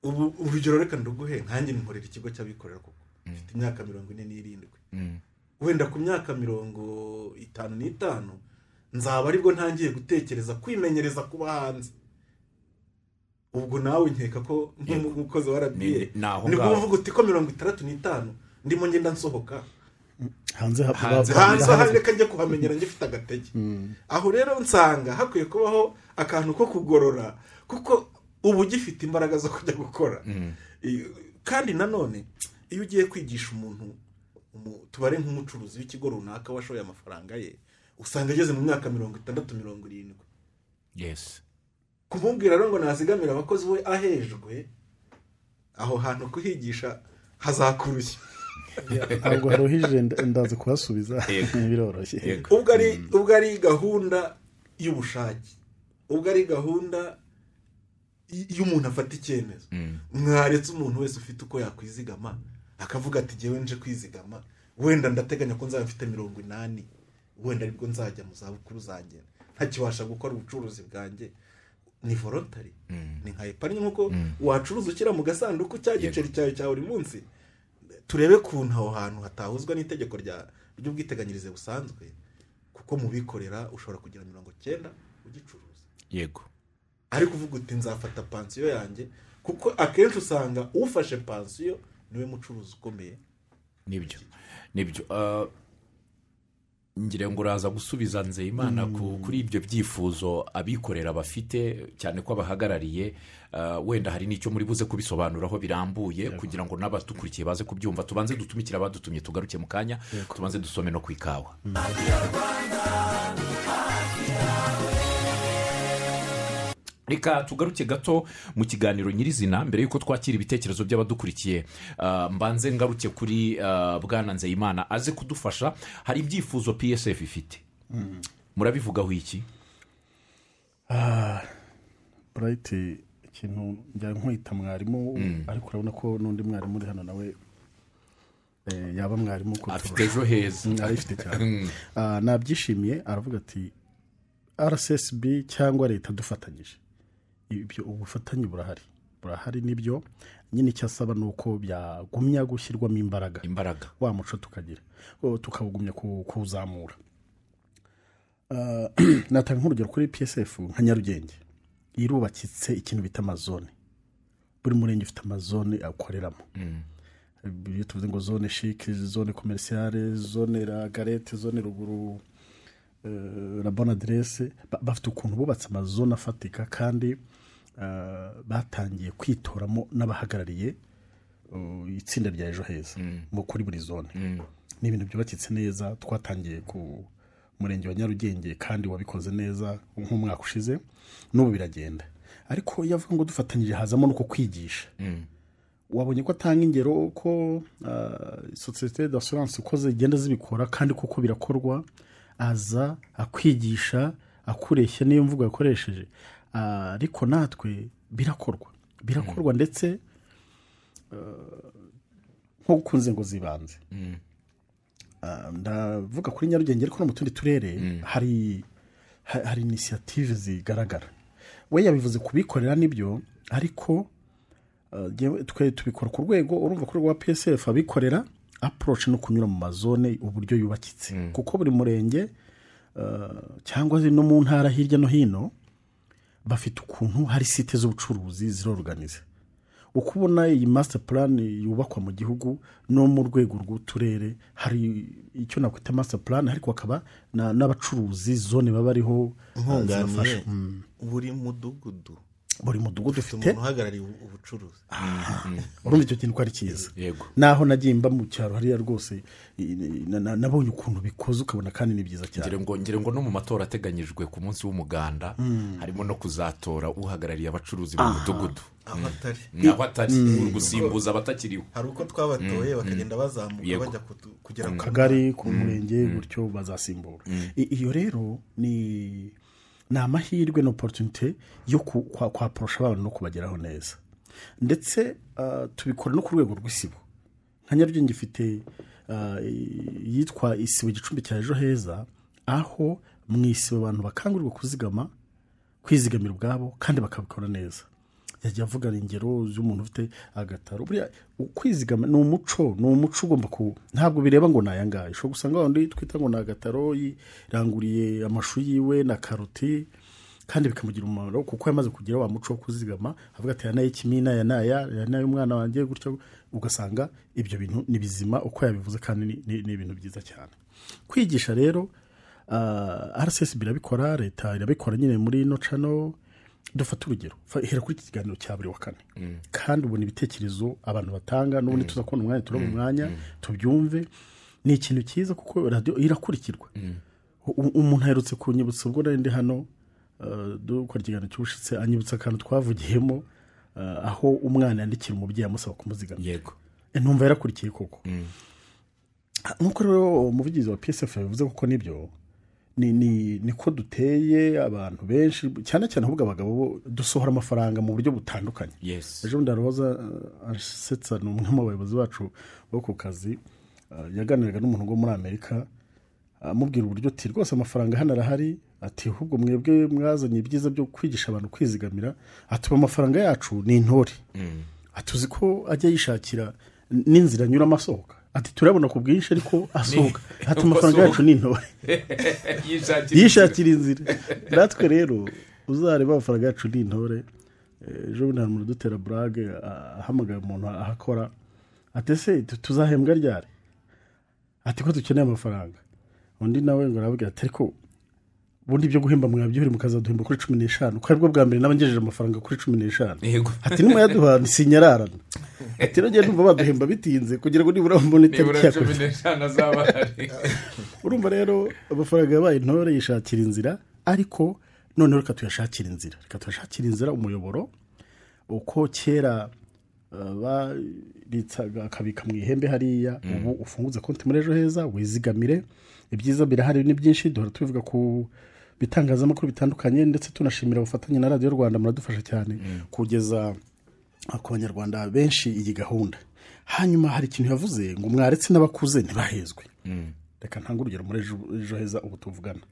Speaker 3: ubu urugero reka ndaguhe nkanjye nkorera ikigo cy'abikorera kuko mfite imyaka mirongo ine n'irindwi
Speaker 1: Mm.
Speaker 3: wenda ku myaka mirongo itanu n'itanu nzaba aribwo ntangiye gutekereza kwimenyereza kuba hanze ubwo nawe nkeka ko
Speaker 1: Yego.
Speaker 3: nk'umukozi wa
Speaker 1: Ni-
Speaker 3: rba
Speaker 1: ni- ni aho
Speaker 3: nibwo
Speaker 1: ngaho.
Speaker 3: uvuga uti ko mirongo itandatu n'itanu ndimo ngenda nsohoka
Speaker 2: hanze ha-
Speaker 1: Hanze-
Speaker 2: ba-
Speaker 3: hanze
Speaker 2: hanze-
Speaker 3: ahari reka njya kuhamenyera ngifite agatege aho rero nsanga hakwiye kubaho akantu ko kugorora kuko uba ugifite imbaraga zo kujya gukora I- kandi nanone iyo ugiye kwigisha umuntu umu- tubare nk'umucuruzi w'ikigo runaka washoye amafaranga ye usanga ageze mu myaka mirongo itandatu mirongo irindwi
Speaker 1: yes
Speaker 3: kumubwira rero ngo nazigamire abakozi we ahejwe aho hantu kuhigisha hazakurushya
Speaker 2: ntabwo haruhije nda- ndaza kuhasubiza
Speaker 1: Yego.
Speaker 2: biroroshye
Speaker 1: Yego.
Speaker 3: ubwo ari ubwo ari gahunda y'ubushake ubwo ari gahunda y- y'umuntu afata icyemezo mwaretse umuntu wese ufite uko yakwizigama akavuga ati ngewe nje kwizigama wenda ndateganya ko nzaba mfite mirongo inani wenda aribwo nzajya mu zabukuru zanjye ntakibasha gukora ubucuruzi bwanjye ni volontari ni nka epari nk'uko wacuruza ushyira mu gasanduku cya giceri cyawe cya buri munsi turebe ukuntu aho hantu hatahuzwa n'itegeko rya- ry'ubwiteganyirize busanzwe kuko mu bikorera ushobora kugira mirongo cyenda ugicuruza
Speaker 1: yego
Speaker 3: ariko uvuga uti nzafata pansiyo yanjye kuko akenshi usanga ufashe pansiyo niwe mucuruzi ukomeye
Speaker 1: nibyo nibyo Ah, ngira ngo uraza gusubiza nzeyimana ku- kuri ibyo byifuzo abikorera bafite cyane ko abahagarariye ah, wenda hari n'icyo muri buze kubisobanuraho birambuye kugira ngo n'abadukurikiye baze kubyumva tubanze dutumikire abadutumye tugaruke mu kanya tubanze dusome no ku ikawa reka tugaruke gato mu kiganiro nyirizina mbere y'uko twakira ibitekerezo by'abadukurikiye Ah, mbanze ngaruke kuri ah, bwana nzeyimana aze kudufasha hari ibyifuzo psf ifite murabivugaho iki
Speaker 2: burayiti ikintu njya nkwita mwarimu
Speaker 1: Mm.
Speaker 2: ariko urabona ko n'undi mwarimu uri hano nawe eh, yaba mwarimu
Speaker 1: afite ejo heza
Speaker 2: Mm, arayifite cyane Ah, nabyishimiye aravuga ati rssb cyangwa leta dufatanyije ibyo ubufatanye burahari burahari nibyo nyine icyo asaba ni uko byagumya gushyirwamo imbaraga
Speaker 1: imbaraga
Speaker 2: wa muco tukagira o, tukawugumya ku- kuwuzamura Ah, natanga nk'urugero kuri psf nka nyarugenge irubakitse ikintu bita amazone buri murenge ufite amazone awukoreramo iyo tuvuze ngo zone shike zone komerisiyare zone la garete zone ruguru eh, la bonne adresse Ba- bafite ukuntu bubatse amazone afatika kandi eh, batangiye kwitoramo n'abahagarariye eh, itsinda rya ejo heza mu kuri buri zone ni ibintu byubakitse neza twatangiye ku murenge wa nyarugenge kandi wabikoze neza nk'umwaka ushize n'ubu biragenda ariko iyo avuga ngo dufatanyije hazamo n'uko kwigisha wabonye ko atanga ingero ko ah, sosiyete d'assurance uko zigenda zibikora kandi kuko birakorwa aza akwigisha akureshya n'iyo mvugo yakoresheje Ah, ariko natwe birakorwa birakorwa ndetse ah, nko gukunze ngo zibanze Ah, ndavuga kuri nyarugenge ariko no mu tundi turere hari ha- hari inisiyative zigaragara we yabivuze kubikorera nibyo ariko Uh, jyewe twe tubikora ku rwego urumva ku rwego rwa psf abikorera approach no kunyura mu mazone uburyo yubakitse
Speaker 3: Hmm.
Speaker 2: kuko buri murenge uh, cyangwa se no mu ntara hirya no hino bafite ukuntu hari site z'ubucuruzi ziroruganiza uko ubona iyi master plan yubakwa mu gihugu no mu rwego rw'uturere hari icyo nakwita master plan ariko hakaba na- n'abacuruzi zone baba bariho uh,
Speaker 3: nkunganiye
Speaker 2: zibafasha. Mm.
Speaker 3: buri mudugudu
Speaker 2: buri mudugudu ufite
Speaker 3: ufite umuntu uhagarariye ubu- ubucuruzi
Speaker 2: urumva icyo kintu ko ari cyiza
Speaker 1: yego
Speaker 2: naho nagiye mba mu cyaro hariya rwose i- i- na- na- nabonye ukuntu bikoze ukabona kandi ni byiza cyane
Speaker 1: ngira ngo ngira ngo no mu matora ateganyijwe ku munsi w'umuganda harimo no kuzatora uhagarariye abacuruzi mu mudugudu
Speaker 3: aho atari
Speaker 1: naho atari uri gusimbuza abatakiriho
Speaker 3: hari uko twabatoye bakagenda bazamuka
Speaker 1: Yego.
Speaker 3: bajya kutu- kugera
Speaker 2: ku
Speaker 3: ku
Speaker 1: Mm.
Speaker 2: kagari ku murenge gutyo bazasimbura I- iyo rero ni ni amahirwe na oporutunite yo ku- kwa- kwaporosha abantu no kubageraho neza ndetse ah, tubikora no ku rwego rw'isibo nka nyarugenge ifite ah, i- iyitwa isibo igicumbi cya ejo heza aho mu isibo abantu bakangurirwa kuzigama kwizigamira ubwabo kandi bakabikora neza yajya avuga ingero z'umuntu ufite agataro buriya kwizigama ni umuco ni umuco ugomba ku ntabwo bireba ngo ni aya ngaya ushobora gusanga wa wundi twita ngo ni agataro yiranguriye amashu yiwe na karoti kandi bikamugira umumaro kuko yamaze kugira wa muco wo kuzigama avuga ati aya ni ay'ikimina aya ni aya aya ni ay'umwana wanjye gutyo ugasanga ibyo bintu ni bizima uko yabivuze kandi ni- ni ni ibintu byiza cyane kwigisha rero ah, rcs birabikora leta irabikora nyine muri ino cano dufate urugero Fa- hera kuri iki kiganiro cya buri wa kane kandi ubona ibitekerezo abantu batanga n'ubundi tuza kubona umwanya turabona umwanya tubyumve ni ikintu cyiza kuko radiyo irakurikirwa U- umuntu aherutse kunyibutsa ubwo nari ndi hano ah, dukora ikiganiro cy'ubushize anyibutsa akantu twavugiyemo ah, aho umwana yandikira umubyeyi amusaba kumuzigama
Speaker 1: yego
Speaker 2: Eh, numva yarakurikiye koko nk'uko rero umuvugizi wa psf yabivuze kuko nibyo ni- ni- niko duteye abantu benshi cyane cyane ahubwo abagabo bo dusohora amafaranga mu buryo butandukanye
Speaker 1: yesi
Speaker 2: ejo ndaroza eh, asetsa ni umwe mu bayobozi bacu bo ku kazi eh, yaganiraga n'umuntu wo muri amerika eh, amubwira uburyo ati rwose amafaranga hano arahari ati ahubwo mwebwe mwazanye ibyiza byo kwigisha abantu kwizigamira atuba amafaranga yacu ni intore atuzi ko ajya yishakira n'inzira anyuramo asohoka ati turabona ku bwinshi ariko asohoka ati
Speaker 1: uko
Speaker 2: amafaranga yacu ni intore yishakira inzira natwe rero uzareba amafaranga yacu ni intore Eh, ejo bundi hari umuntu udutera burage ah, ahamagara umuntu ahakora ati ese tu- tuzahembwa ryari ati ko dukeneye amafaranga undi nawe ngo arabwira ati ariko ubundi ibyo guhemba mwabyohera mukazaduhemba kuri cumi n'eshanu ko aribwo bwa mbere nabangejeje amafaranga kuri cumi n'eshanu
Speaker 1: yego
Speaker 2: ati nimuyaduha sinyararana ati rero ngende umva baduhemba bitinze kugira ngo nibura mbone
Speaker 1: nibura
Speaker 2: itariki ya
Speaker 1: cumi n'eshanu azaba ahari
Speaker 2: urumva rero amafaranga yabaye intore yishakira inzira ariko noneho reka tuyashakire inzira reka tuyashakire inzira umuyoboro uko kera uh, babitsaga akabika mu ihembe hariya ubu ufunguza konti muri ejo heza wizigamire ibyiza birahari ni byinshi duhora tubivuga ku bitangazamakuru bitandukanye ndetse tunashimira ubufatanye na radiyo rwanda muradufasha cyane kugeza ku banyarwanda benshi iyi gahunda hanyuma hari ikintu yavuze ngo mwaretse n'abakuze ntibahezwe reka ntange urugero muri ejo- ejo heza ubu tuvugana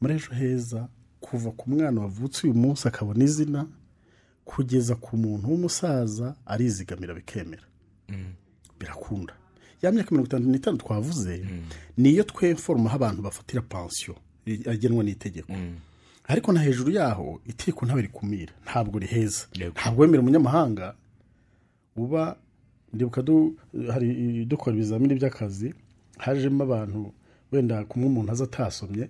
Speaker 2: muri ejo heza kuva ku mwana wavutse uyu munsi akabona izina kugeza ku muntu w'umusaza arizigamira bikemera birakunda ya myaka mirongo itanu n'itanu twavuze niyo tweforomo aho abantu bafatira pansiyo agenwa
Speaker 1: Mm.
Speaker 2: n'itegeko ariko na hejuru yaho itegeko ntabwo rikumira ntabwo riheza
Speaker 1: Yego.
Speaker 2: ntabwo wemera umunyamahanga uba ndibuka du- hari dukora ibizamini by'akazi hajemo abantu wenda kumwe umuntu aza atasomye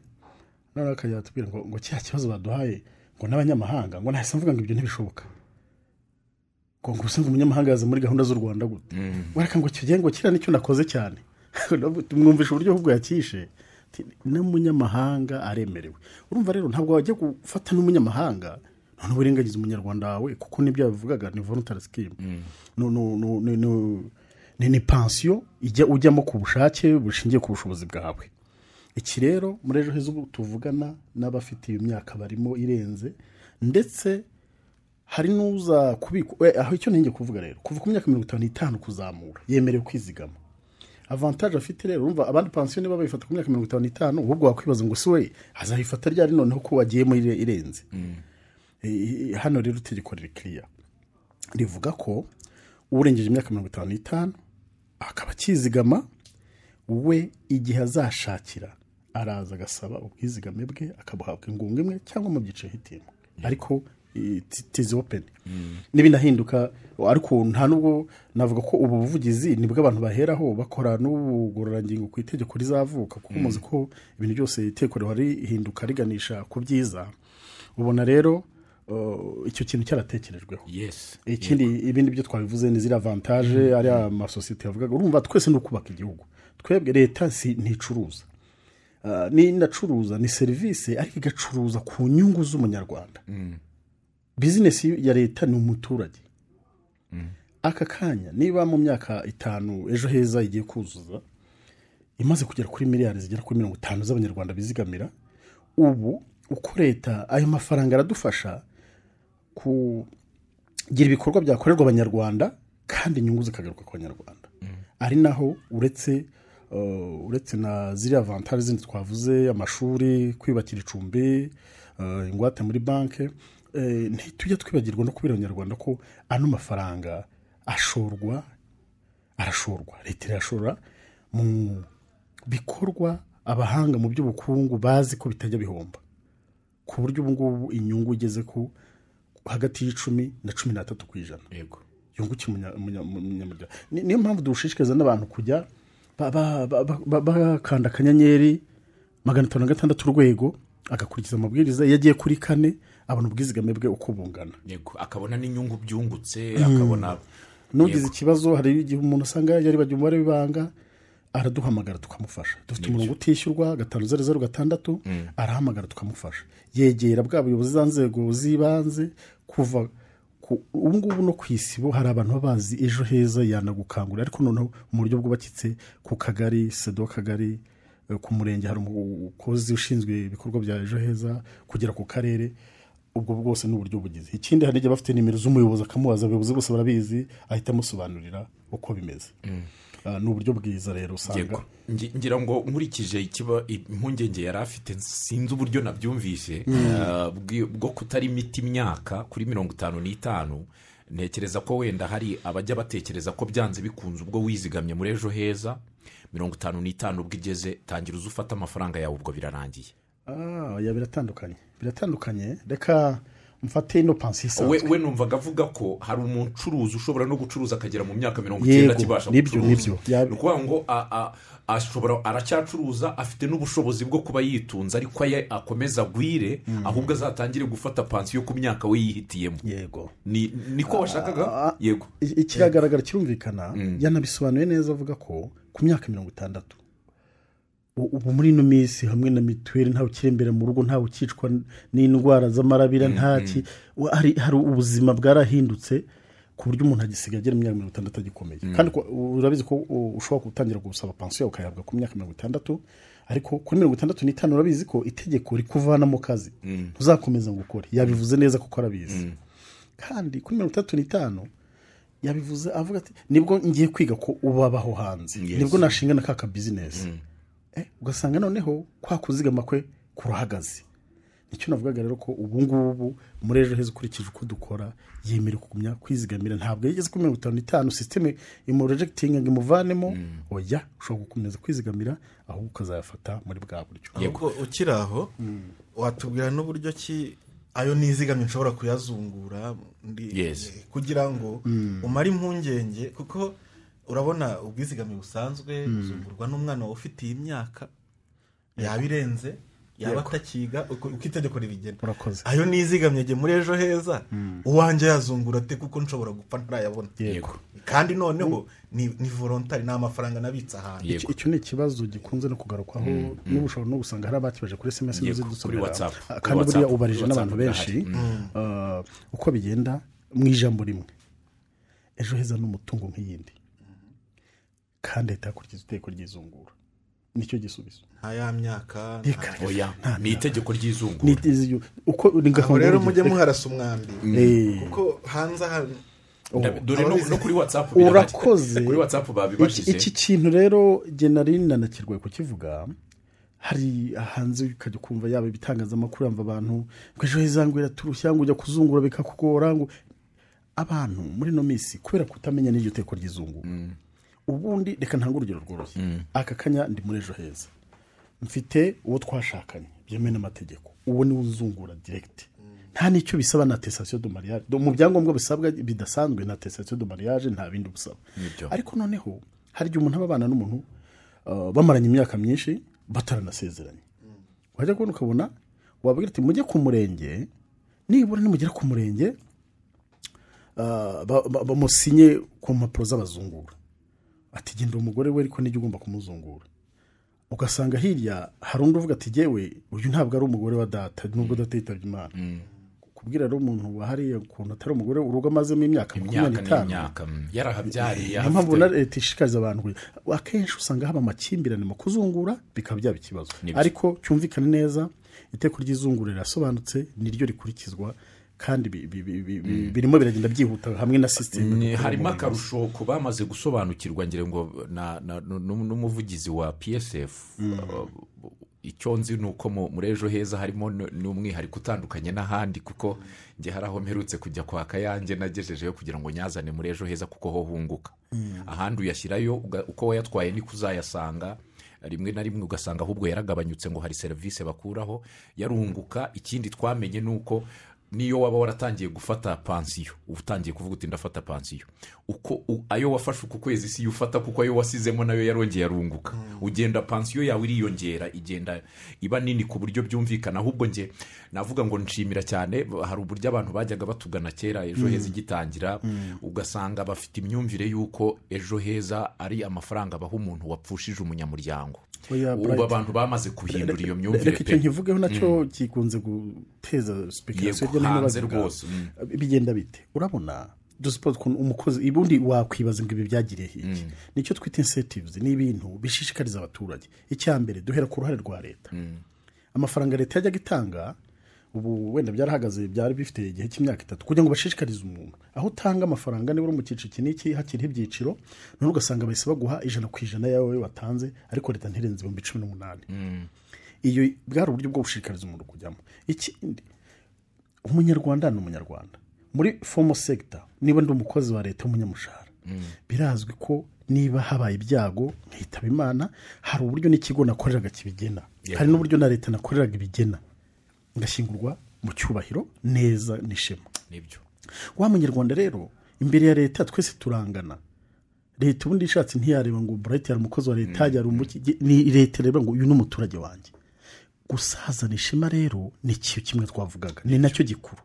Speaker 2: noneho akajya atubwira ngo ngo cya kibazo baduhaye ngo n'abanyamahanga ngo nahise mvuga ngo ibyo ntibishoboka ngo ngo usanga umunyamahanga yaza muri gahunda z'u rwanda gute wareka ngo kigiye ngo kiriya nicyo nakoze cyane mwumvisha uburyo ahubwo yakishe Ati, n'umunyamahanga aremerewe urumva rero ntabwo wajya gufata n'umunyamahanga none uburenganyiza umunyarwanda wawe kuko nibyo yabivugaga ni voluntary scheme No- no- no- no- no- ni ni pansiyo ijya ujyamo ku bushake bushingiye ku bushobozi bwawe iki rero muri ejo heza ubu tuvugana n'abafite iyo myaka barimo irenze ndetse hari n'uza kubikwa we, aho icyo nenge kuvuga rero kuva ku myaka mirongo itanu n'itanu kuzamura yemerewe kwizigama avantaje afite rero urumva abandi pansiyo niba bayifata ku myaka mirongo itanu n'itanu ahubwo wakwibaza ngo si we azayifata ryari noneho ko wagiye muri ire- irenze Eh, hano rero itegeko riri kiriya rivuga ko urengeje imyaka mirongo itanu n'itanu akaba akizigama we igihe azashakira araza agasaba ubwizigame bwe akabuhabwa ingunga imwe cyangwa mu byiciro hitimwe ariko tizi openi n'ibinahinduka ariko nta n'ubwo navuga ko ubu buvugizi nibwo abantu baheraho bakora n'ubugororangingo ku itegeko rizavuka kuko muzi ko ibintu byose itegeko riba rihinduka riganisha ku byiza ubona rero uh, icyo kintu cyaratekerejweho
Speaker 1: yesi
Speaker 2: ikindi ibindi byo twabivuze ni ziriya avantaje ari amasosiyete yavugaga urumva twese ni ukubaka igihugu twebwe leta si nticuruza Ah, n'inacuruza ni serivisi ariko igacuruza ku nyungu z'umunyarwanda bizinesi ya leta ni umuturage aka kanya niba mu myaka itanu ejo heza igiye kuzuza imaze kugera kuri miliyari zigera kuri mirongo itanu z'abanyarwanda bizigamira ubu uko leta ayo mafaranga aradufasha ku gira ibikorwa byakorerwa abanyarwanda kandi inyungu zikagaruka ku banyarwanda ari naho uretse uh, uretse na ziriya vantari zindi twavuze amashuri kwiyubakira icumbi uh, ingwate muri banki eh, ntitujya twibagirwa no kubwira abanyarwanda ko ano mafaranga ashorwa arashorwa leta irashora mu bikorwa abahanga mu by'ubukungu bazi ko bitajya bihomba ku buryo ubu ngubu inyungu igeze ku hagati y'icumi na cumi n'atatu ku ijana
Speaker 1: yego
Speaker 2: yungukira umunya- umunya- umunyamuryango Ni- niyo mpamvu dushishikariza n'abantu kujya ba- ba- ba- ba- ba- bakanda akanyenyeri magana atanu na gatandatu urwego agakurikiza amabwiriza iyo agiye kuri kane abona ubwizigame bwe uko bungana
Speaker 1: yego akabona n'inyungu byungutse
Speaker 2: Hmm.
Speaker 1: akabona
Speaker 2: n'ugize ikibazo hari igihe umuntu asanga yaribagiwe umubare w'ibanga araduhamagara tukamufasha dufite umurongo utishyurwa gatanu zeru zeru gatandatu arahamagara tukamufasha yegera bwa buyobozi za nzego z'ibanze kuva ku- ubu ngubu no ku isibo hari abantu baba bazi ejo heza yanagukangurira ariko noneho mu buryo bwubakitse ku kagari sedo kagari eh, ku murenge hari umukozi ushinzwe ibikorwa bya ejo heza kugera ku karere ubwo bwose ni uburyo bugize ikindi hari igihe bafite nimero z'umuyobozi akamubaza abayobozi bose barabizi ahita amusobanurira uko bimeze Ah, ni uburyo bwiza rero usanga
Speaker 1: Mm. yego Ngi- ngira ngo nkurikije ikiba impungenge yari afite sinzi uburyo nabyumvise
Speaker 2: Hmm.
Speaker 1: ah, bwi- bwo kutarimita imyaka kuri mirongo itanu n'itanu ntekereza ko wenda hari abajya batekereza ko byanze bikunze ubwo wizigamye muri ejo heza mirongo itanu n'itanu ubwo igeze tangira uze ufate amafaranga yawe ubwo birarangiye
Speaker 2: Ah, ya biratandukanye biratandukanye reka mfate ino pansiyo
Speaker 1: we,
Speaker 2: isanzwe
Speaker 1: we numvaga avuga ko hari umucuruzi ushobora no gucuruza akagera mu myaka mirongo
Speaker 2: Yego,
Speaker 1: icyenda akibasha
Speaker 2: nibyo,
Speaker 1: gucuruza.
Speaker 2: nibyo. Ya-
Speaker 1: ni ukuvuga ngo a- a- ashobora aracyacuruza afite n'ubushobozi bwo kuba yitunze ariko aye akomeza agwire
Speaker 2: Mm-hmm.
Speaker 1: ahubwo azatangire gufata pansiyo ku myaka we yihitiyemo
Speaker 2: yego
Speaker 1: Ni- niko washakaga
Speaker 2: Ah.
Speaker 1: yego
Speaker 2: I- ikiragaragara kirumvikana yanabisobanuye neza avuga ko ku myaka mirongo itandatu u- ubu muri ino minsi hamwe na mituweli ntawe ukirembera mu rugo ntawe ukicwa n- n'indwara z'amarabira ntaki wa- hari hari ubuzima bwarahindutse ku buryo umuntu agisigaye agera imyaka mirongo itandatu agikomeye kandi ko- u- urabizi ko u- ushobora gutangira gusaba pansiyo yawe ukayihabwa ku myaka mirongo itandatu ariko kuri mirongo itandatu n'itanu urabizi ko itegeko rikuvanamo kazi ntuzakomeza ngo ukore yabivuze neza kuko arabizi kandi kuri mirongo itandatu n'itanu yabivuze avuga ati nibwo ngiye kwiga ko ubabaho hanze
Speaker 1: Yes.
Speaker 2: nibwo nashinga na ka kabizinesi Eh, ugasanga noneho kwa kuzigama kwe kurahagaze icyo navugaga rero ko ubu ngubu muri ejo heza ukurikije uko dukora yemerewe kugumya kwizigamira ntabwo yageze kuri mirongo itanu n'itanu sisiteme imurejegitinga ngo imuvanemo oya ushobora gukomeza kwizigamira ahubwo ukazayafata muri bwa buryo
Speaker 3: ahubwo ukiri aho watubwira n'uburyo ki ayo nizigamye nshobora kuyazungura
Speaker 1: Yes.
Speaker 3: kugira ngo umare impungenge kuko urabona ubwizigame busanzwe buzungurwa n'umwana wawe ufite iyi myaka yaba irenze yaba atakiga uko uko itegeko ribigena
Speaker 2: Urakoze.
Speaker 3: ayo nizigamye njye muri ejo heza uwanjye yazungura ate kuko nshobora gupfa ntarayabona
Speaker 1: Yego.
Speaker 3: kandi noneho ni ni volontari ni amafaranga nabitse ahantu
Speaker 1: Yego. Hmm,
Speaker 2: Icyo- icyo ni ikibazo gikunze no kugarukwaho n'ubu ushobora no gusanga hari abakibaje kuri sms
Speaker 1: Yego,
Speaker 2: nizo
Speaker 1: kuri
Speaker 2: dusomera
Speaker 1: WhatsApp, kuri
Speaker 2: Ah, kandi buriya
Speaker 1: WhatsApp, Hmm.
Speaker 2: ubarije
Speaker 1: kuri
Speaker 2: n'abantu
Speaker 1: WhatsApp
Speaker 2: benshi ah, uko bigenda mu ijambo rimwe ejo heza ni umutungo nk'iyindi kandi leta yakurikiza itegeko ry'izungura nicyo gisubizo
Speaker 3: nta ya myaka nta-
Speaker 2: Reka,
Speaker 1: oya ni itegeko
Speaker 2: ni
Speaker 1: ry'izungura
Speaker 2: izi- uko ni
Speaker 3: aho
Speaker 2: gakondo
Speaker 3: rero
Speaker 2: y'urugero.
Speaker 3: mujye muharasa umwambi
Speaker 2: Eh,
Speaker 3: kuko hanze ahantu
Speaker 2: Oh.
Speaker 1: Ndab- dore no, no kuri watsapu
Speaker 2: Urakoze.
Speaker 1: kuri watsapu
Speaker 2: iki,
Speaker 1: babibashyize
Speaker 2: iki kintu rero jye nari nanakirwaye kukivuga hari hanze ukajya ukumva yaba ibitangazamakuru yamva abantu ngo ejo heza ngo iraturushya ngo ujya kuzungura bikakugora ngo abantu muri ino minsi kubera kutamenya n'iryo teko ry'izungura ubundi reka ntange urugero rworoshye aka kanya ndi muri ejo heza mfite uwo twashakanye byemewe n'amategeko uwo niwe uzungura diregiti nta nicyo bisaba na tesasiyo do mariage Do- mu byangombwa bisabwa bidasanzwe na tesasiyo do mariage nta bindi busaba
Speaker 1: Nibyo.
Speaker 2: ariko noneho hari igihe umuntu aba abana n'umuntu uh, bamaranye imyaka myinshi bataranasezeranye wajya kubona ukabona wabwira ati mujye ku murenge nibura nimugera ku murenge uh, ba- ba- bamusinye ku mpapuro z'abazungura ati genda umugore we ariko nijya ugomba kumuzungura ugasanga hirya hari undi uvuga ati jyewe uyu ntabwo ari umugore wa data nubwo data yitabye imana kubwira rero umuntu wa hariya ukuntu atari umugore urugo amazemo imyaka makumyabiri
Speaker 1: imyaka
Speaker 2: n'itanu
Speaker 1: n'imyaka mm, yarahabyariye
Speaker 2: niyo mpamvu na
Speaker 1: afite-
Speaker 2: leta ishishikariza abantu kugira- akenshi usanga haba amakimbirane mu kuzungura bikaba byaba ikibazo
Speaker 1: Nibyo.
Speaker 2: ariko cyumvikane neza iteko ry'izungura rirasobanutse niryo rikurikizwa kandi bi- bi- bi- bi- bi- birimo biragenda byihuta hamwe na sisiteme
Speaker 1: Mm. Ni- harimo akarusho ku bamaze gusobanukirwa ngira ngo na- na- nu- n'umuvugizi wa psf uh, icyo nzi ni uko mu- muri ejo heza harimo n- n'umwihariko utandukanye n'ahandi kuko njye hari aho mperutse kujya kwaka yanjye nagejejeyo kugira ngo nyazane muri ejo heza kuko ho hunguka ahandi uyashyirayo uga- uko wayatwaye niko uzayasanga rimwe na rimwe ugasanga ahubwo yaragabanyutse ngo hari serivisi bakuraho yarunguka ikindi twamenye ni uko niyo waba waratangiye gufata pansiyo uba utangiye kuvuga uti ndafata pansiyo uko u- ayo wafashe uku kwezi si yo ufata kuko ayo wasizemo nayo yarongeye arunguka ugenda pansiyo yawe iriyongera igenda iba nini ku buryo byumvikana ahubwo nge navuga ngo nshimira cyane hari uburyo abantu bajyaga batugana kera ejo heza igitangira ugasanga bafite imyumvire y'uko ejo heza ari amafaranga abaha umuntu wapfushije umunyamuryango
Speaker 2: Oya,
Speaker 1: ubu
Speaker 2: Bright.
Speaker 1: abantu bamaze guhindura iyo myumvire
Speaker 2: reka icyo
Speaker 1: pe Mm.
Speaker 2: nkivugeho nacyo gikunze guteza sipekarasiyo
Speaker 1: Yego, hanze rwose, mm.
Speaker 2: bigenda bite urabona dusipoze ukuntu umukozi ubundi wakwibaza ngo ibi byagiriye hiki
Speaker 1: Mm.
Speaker 2: nicyo twita insetives ni ibintu bishishikariza abaturage icya mbere duhera ku ruhare rwa leta
Speaker 1: Mm.
Speaker 2: amafaranga leta yajyaga itanga ubu wenda byarahagaze byari bifite igihe cy'imyaka itatu kugira ngo bashishikarize umuntu aho utanga amafaranga niba uri mu cyiciro iki n'iki hakiriho ibyiciro none ugasanga bahise baguha ijana ku ijana yawe watanze ariko leta ntirenze ibihumbi cumi n'umunani
Speaker 1: Mm.
Speaker 2: iyo bwari uburyo bwo gushishikariza umuntu kujyamo ikindi umunyarwanda ni umunyarwanda muri fomo segita niba ndi umukozi wa leta w'umunyamushahara birazwi ko niba habaye ibyago nkitaba imana hari uburyo n'ikigo nakoreraga kibigena hari n'uburyo na leta nakoreraga ibigena ngashyingurwa mu cyubahiro neza n'ishema
Speaker 1: nibyo
Speaker 2: wa munyarwanda rero imbere ya leta twese turangana leta ubundi ishatse ntiyareba ngo burayiti yari umukozi wa leta yari
Speaker 1: Mm-hmm.
Speaker 2: umuki ni leta ireba ngo uyu ni umuturage wanjye gusazana ishema rero ni ikintu kimwe twavugaga ni nacyo gikuru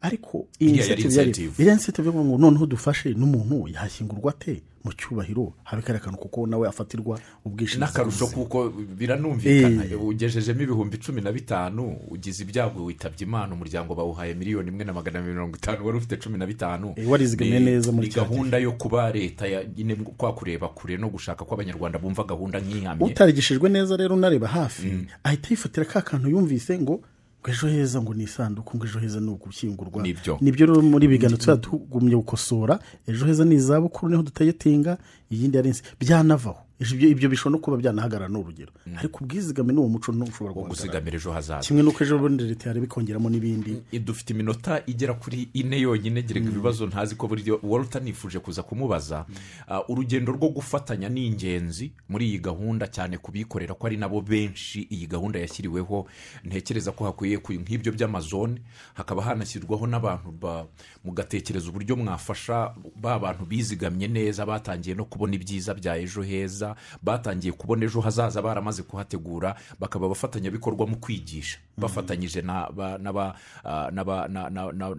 Speaker 2: ariko iyi
Speaker 1: Iriya Mm-hmm. yari
Speaker 2: initiative yari
Speaker 1: incentive.
Speaker 2: iriya initiative yo kuvuga ngo noneho dufashe n'umuntu yashyingurwa ate mu cyubahiro habe kariya kantu kuko nawe afatirwa ubwishingizi
Speaker 1: n'akarusho
Speaker 2: bw'ubuzima.
Speaker 1: kuko biranumvikana
Speaker 2: Eh.
Speaker 1: ugejejemo ibihumbi cumi na bitanu ugize ibyago witabye imana umuryango bawuhaye miliyoni imwe na magana abiri mirongo itanu wari ufite cumi na bitanu
Speaker 2: Eh, warizigamiye
Speaker 1: Ni-
Speaker 2: neza muri
Speaker 1: ni
Speaker 2: cya gihe.
Speaker 1: gahunda yo kuba leta ya- nyine kwa kureba kure no gushaka ko abanyarwanda bumva gahunda nk'ihamye
Speaker 2: utarigishijwe neza rero unareba
Speaker 1: Mm.
Speaker 2: hafi ahita yifatira ka kantu yumvise ngo ngo ejo heza ngo ni isanduku ngo ejo heza ni ugushyingurwa
Speaker 1: Nibyo.
Speaker 2: nibyo rero muri bigana tuzajya tugumye gukosora ejo heza ni izabukuru niho tutayitinga iyindi yari insi byanavaho ibyo ibyo bishobora no kuba byanahagarara ni urugero ariko ubwizigame n'uwo muco ntushobora
Speaker 1: Mm. wo
Speaker 2: guhagarara
Speaker 1: guzigamira ejo hazaza
Speaker 2: kimwe n'uko ejo bundi leta yareba ikongeramo n'ibindi
Speaker 1: dufite iminota igera kuri ine yonyine gereka ibibazo ntazi ko buryo wari utanifuje kuza kumubaza Ah, urugendo rwo gufatanya ni ingenzi muri iyi gahunda cyane ku bikorera ko ari nabo benshi iyi gahunda yashyiriweho ntekereza ko hakwiye ku nk'ibyo by'amazone hakaba hanashyirwaho n'abantu ba- mugatekereza uburyo mwafasha ba bantu bizigamye neza batangiye no kubona ibyiza bya ejo heza batangiye kubona ejo hazaza baramaze kuhategura bakaba abafatanyabikorwa mu kwigisha bafatanyije na- ba- n'aba- ah, n'aba- na- na- na-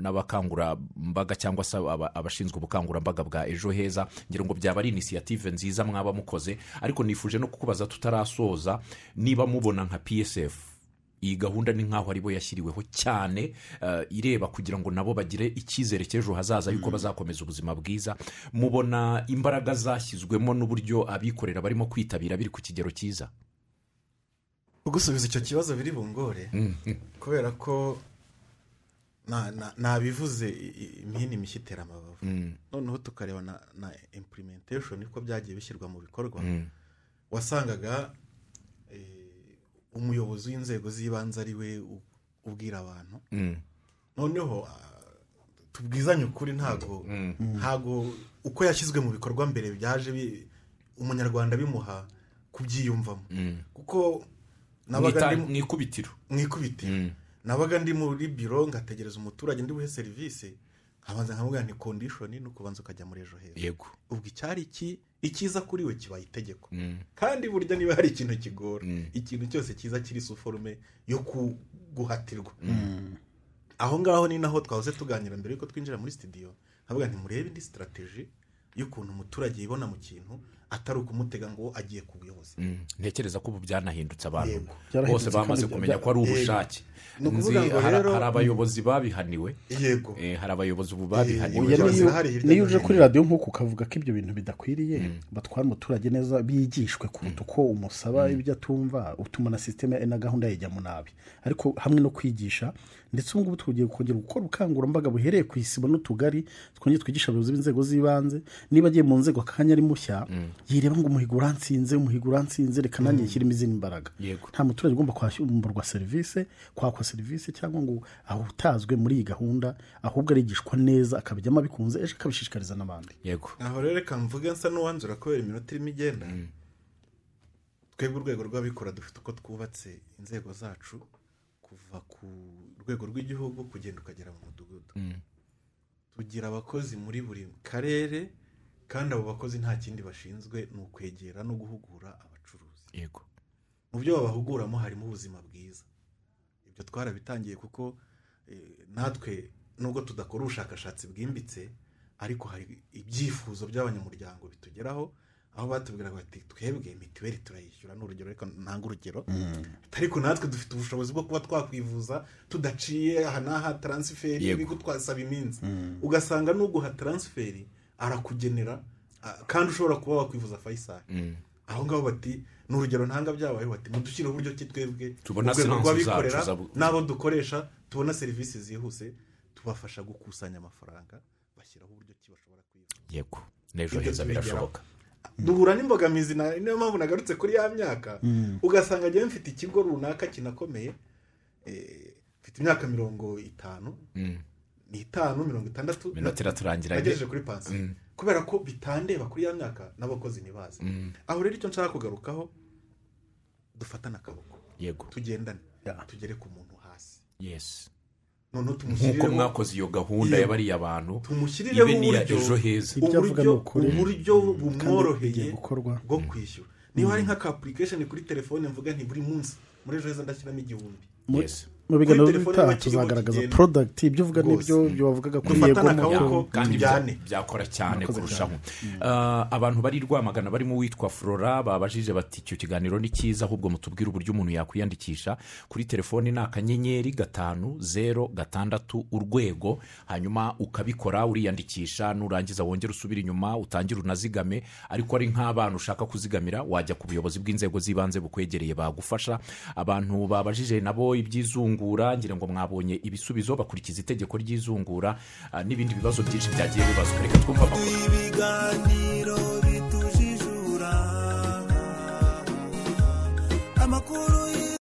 Speaker 1: n'abakangurambaga cyangwa se aba- abashinzwe ubukangurambaga bwa ejo heza ngira ngo byaba ari inisiyative nziza mwaba mukoze ariko nifuje no kukubaza tutarasoza niba mubona nka psf iyi gahunda ni nk'aho aribo yashyiriweho cyane eh, ireba kugira ngo nabo bagire icyizere cy'ejo hazaza yuko bazakomeza ubuzima bwiza mubona imbaraga zashyizwemo n'uburyo abikorera barimo kwitabira biri ku kigero cyiza
Speaker 3: gusubiza icyo kibazo biri bungore kubera ko na- na- nabivuze i- i- impini mishya itera amabavu noneho tukareba na na implementation uko byagiye bishyirwa mu bikorwa wasangaga eh, umuyobozi w'inzego z'ibanze ari we u- ubwira abantu noneho ah, tubwizanye ukuri ntago ntago uko yashyizwe mu bikorwa mbere byaje bi- umunyarwanda bimuha kubyiyumvamo kuko nabaga
Speaker 1: Mwita-
Speaker 3: ndi mu-
Speaker 1: mwikubitiro
Speaker 3: mu ikubiti
Speaker 1: Mm.
Speaker 3: nabaga ndi muri biro ngategereza umuturage ndi buhe serivisi nkabanza nkamubwira nti kondishoni ni ukubanza ukajya muri ejo heza
Speaker 1: yego
Speaker 3: ubwo icyari iki icyiza kuri we kibaye itegeko
Speaker 1: Mm.
Speaker 3: kandi burya niba hari ikintu kigora ikintu cyose cyiza kiri forume yo ku- guhatirwa
Speaker 1: Mm.
Speaker 3: aho ngaho ni naho twahoze tuganira mbere yuko twinjira muri sitidiyo nkavuga nti murebe indi sitarategi y'ukuntu umuturage yibona mu kintu atari ukumutega ngo agiye kubuyobozi
Speaker 1: Mm. ntekereza ko ubu byanahindutse abantu
Speaker 3: Yego.
Speaker 1: bose
Speaker 2: Byarahindutse
Speaker 1: bamaze
Speaker 2: kandi
Speaker 1: kumenya
Speaker 2: bya-
Speaker 1: ko ari ubushake
Speaker 3: Ni ukuvuga
Speaker 1: Nzi-
Speaker 3: ngo
Speaker 1: hari
Speaker 3: rero-
Speaker 1: hari abayobozi babihaniwe
Speaker 3: yego
Speaker 1: eh, hari abayobozi ubu
Speaker 3: Oya,
Speaker 1: babihaniwe
Speaker 3: Ibibazo
Speaker 2: niyo-
Speaker 3: birahari hirya
Speaker 2: niyo
Speaker 3: no
Speaker 2: uje
Speaker 3: hino.
Speaker 2: kuri radiyo nk'uko ukavuga ko ibyo bintu bidakwiriye batwara umuturage neza bigishwe kuruta uko umusaba ibyo atumva utuma na sisiteme na gahunda yajya mu nabi ariko hamwe no kwigisha ndetse ubu ngubu tugiye kongera gukora ubukangurambaga buhereye ku isibo n'utugari twongere twigisha abayobozi b'inzego z'ibanze niba agiye mu nzego akanya ari mushya yireba ngo umuhigo uransinze umuhigo uransinze reka nanjye nshyiremo izindi mbaraga
Speaker 1: Yego.
Speaker 2: nta muturage ugomba kwamburwa serivisi kwakwa serivisi cyangwa ngo ahutazwe muri iyi gahunda ahubwo arigishwa neza akabijyamo abikunze ejo akabishishikariza n'abandi
Speaker 1: yego
Speaker 3: aho rero reka mvuge nsa n'uwanzura kubera iminota irimo igenda twebwe urwego rw'abikorera dufite uko twubatse inzego zacu kuva ku rwego rw'igihugu kugenda ukagera mu mudugudu tugira abakozi muri buri karere kandi abo bakozi nta kindi bashinzwe ni ukwegera no guhugura abacuruzi
Speaker 1: yego
Speaker 3: mu byo babahuguramo harimo ubuzima bwiza ibyo twarabitangiye kuko eh, natwe nubwo tudakora ubushakashatsi bwimbitse ariko hari ibyifuzo by'abanyamuryango bitugeraho aho batubwiraga bati twebwe mituweli turayishyura ni urugero ariko ntanga urugero ariko natwe dufite ubushobozi bwo kuba twakwivuza tudaciye aha n'aha taransiferi
Speaker 1: Yego.
Speaker 3: twasaba iminsi ugasanga n'uguha taransiferi arakugenera ah, kandi ushobora kuba wakwivuza fayisari aho ngaho bati ni urugero ntanga byabayeho bati mudushyireho uburyo ki twebwe
Speaker 1: Tubona
Speaker 3: urwego
Speaker 1: silanse
Speaker 3: rw'abikorera
Speaker 1: zacu za-
Speaker 3: n'abo dukoresha tubona serivisi zihuse tubafasha gukusanya amafaranga bashyiraho uburyo ki bashobora kwivuza
Speaker 1: yego n'ejo
Speaker 3: Ibyo
Speaker 1: heza
Speaker 3: tubigeraho.
Speaker 1: birashoboka Mm.
Speaker 3: duhura n'imbogamizi na- niyo mpamvu nagarutse kuri ya myaka
Speaker 1: Mm.
Speaker 3: ugasanga njyewe mfite ikigo runaka kinakomeye eh, mfite imyaka mirongo itanu
Speaker 1: Mm,
Speaker 3: ni itanu mirongo itandatu
Speaker 1: iminota iraturangira
Speaker 3: nagejeje kuri pansiyo
Speaker 1: Mm.
Speaker 3: kubera ko bitandeba kuri ya myaka n'abakozi ntibazi
Speaker 1: Mm.
Speaker 3: aho rero icyo nshaka kugarukaho dufatane akaboko
Speaker 1: yego
Speaker 3: tugendane
Speaker 2: Yeah.
Speaker 3: tugere ku muntu hasi
Speaker 1: yesi
Speaker 3: noneho
Speaker 1: nk'uko
Speaker 3: tumushyirireho
Speaker 1: mwakoze iyo gahunda
Speaker 3: Yego.
Speaker 1: y'abariya bantu
Speaker 3: tumushyirireho
Speaker 1: ibe n'iya
Speaker 3: uburyo
Speaker 1: ejo heza
Speaker 2: Ibyo avuga
Speaker 3: uburyo
Speaker 2: ni ukuri.
Speaker 3: uburyo bumworoheye
Speaker 2: bigiye gukorwa.
Speaker 3: bwo kwishyura niba hari nk'aka apurikesheni kuri telefone mvuga nti buri munsi muri ejo heza ndashyiramo igihumbi
Speaker 2: Mu-
Speaker 1: Yes.
Speaker 2: mu biganiro
Speaker 3: Kuri telefone
Speaker 2: bitaha
Speaker 3: bakiri
Speaker 2: tuzagaragaza
Speaker 3: bakigenda.
Speaker 2: porodagiti ibyo uvuga
Speaker 3: Rwose.
Speaker 2: n'ibyo ibyo wavugaga kuri
Speaker 3: Dufatane
Speaker 2: yego mu
Speaker 3: akaboko.
Speaker 2: byo-
Speaker 1: kandi
Speaker 3: tujyane.
Speaker 1: bya- byakora cyane kurushaho Ah, abantu bari rwamagana barimo uwitwa flora babajije bati icyo kiganiro ni cyiza ahubwo mutubwire uburyo umuntu yakwiyandikisha kuri telefoni ni akanyenyeri gatanu zeru gatandatu urwego hanyuma ukabikora uriyandikisha nurangiza wongere usubire inyuma utangire unazigame ariko ari nk'abana ushaka kuzigamira wajya ku buyobozi bw'inzego z'ibanze bukwegereye bagufasha abantu babajije nabo iby'izungura ngira ngo mwabonye ibisubizo bakurikiza itegeko ry'izungura ah, n'ibindi bibazo byinshi byagiye bibazwa reka twumve amakuru
Speaker 4: ibiganiro bitujijura amakuru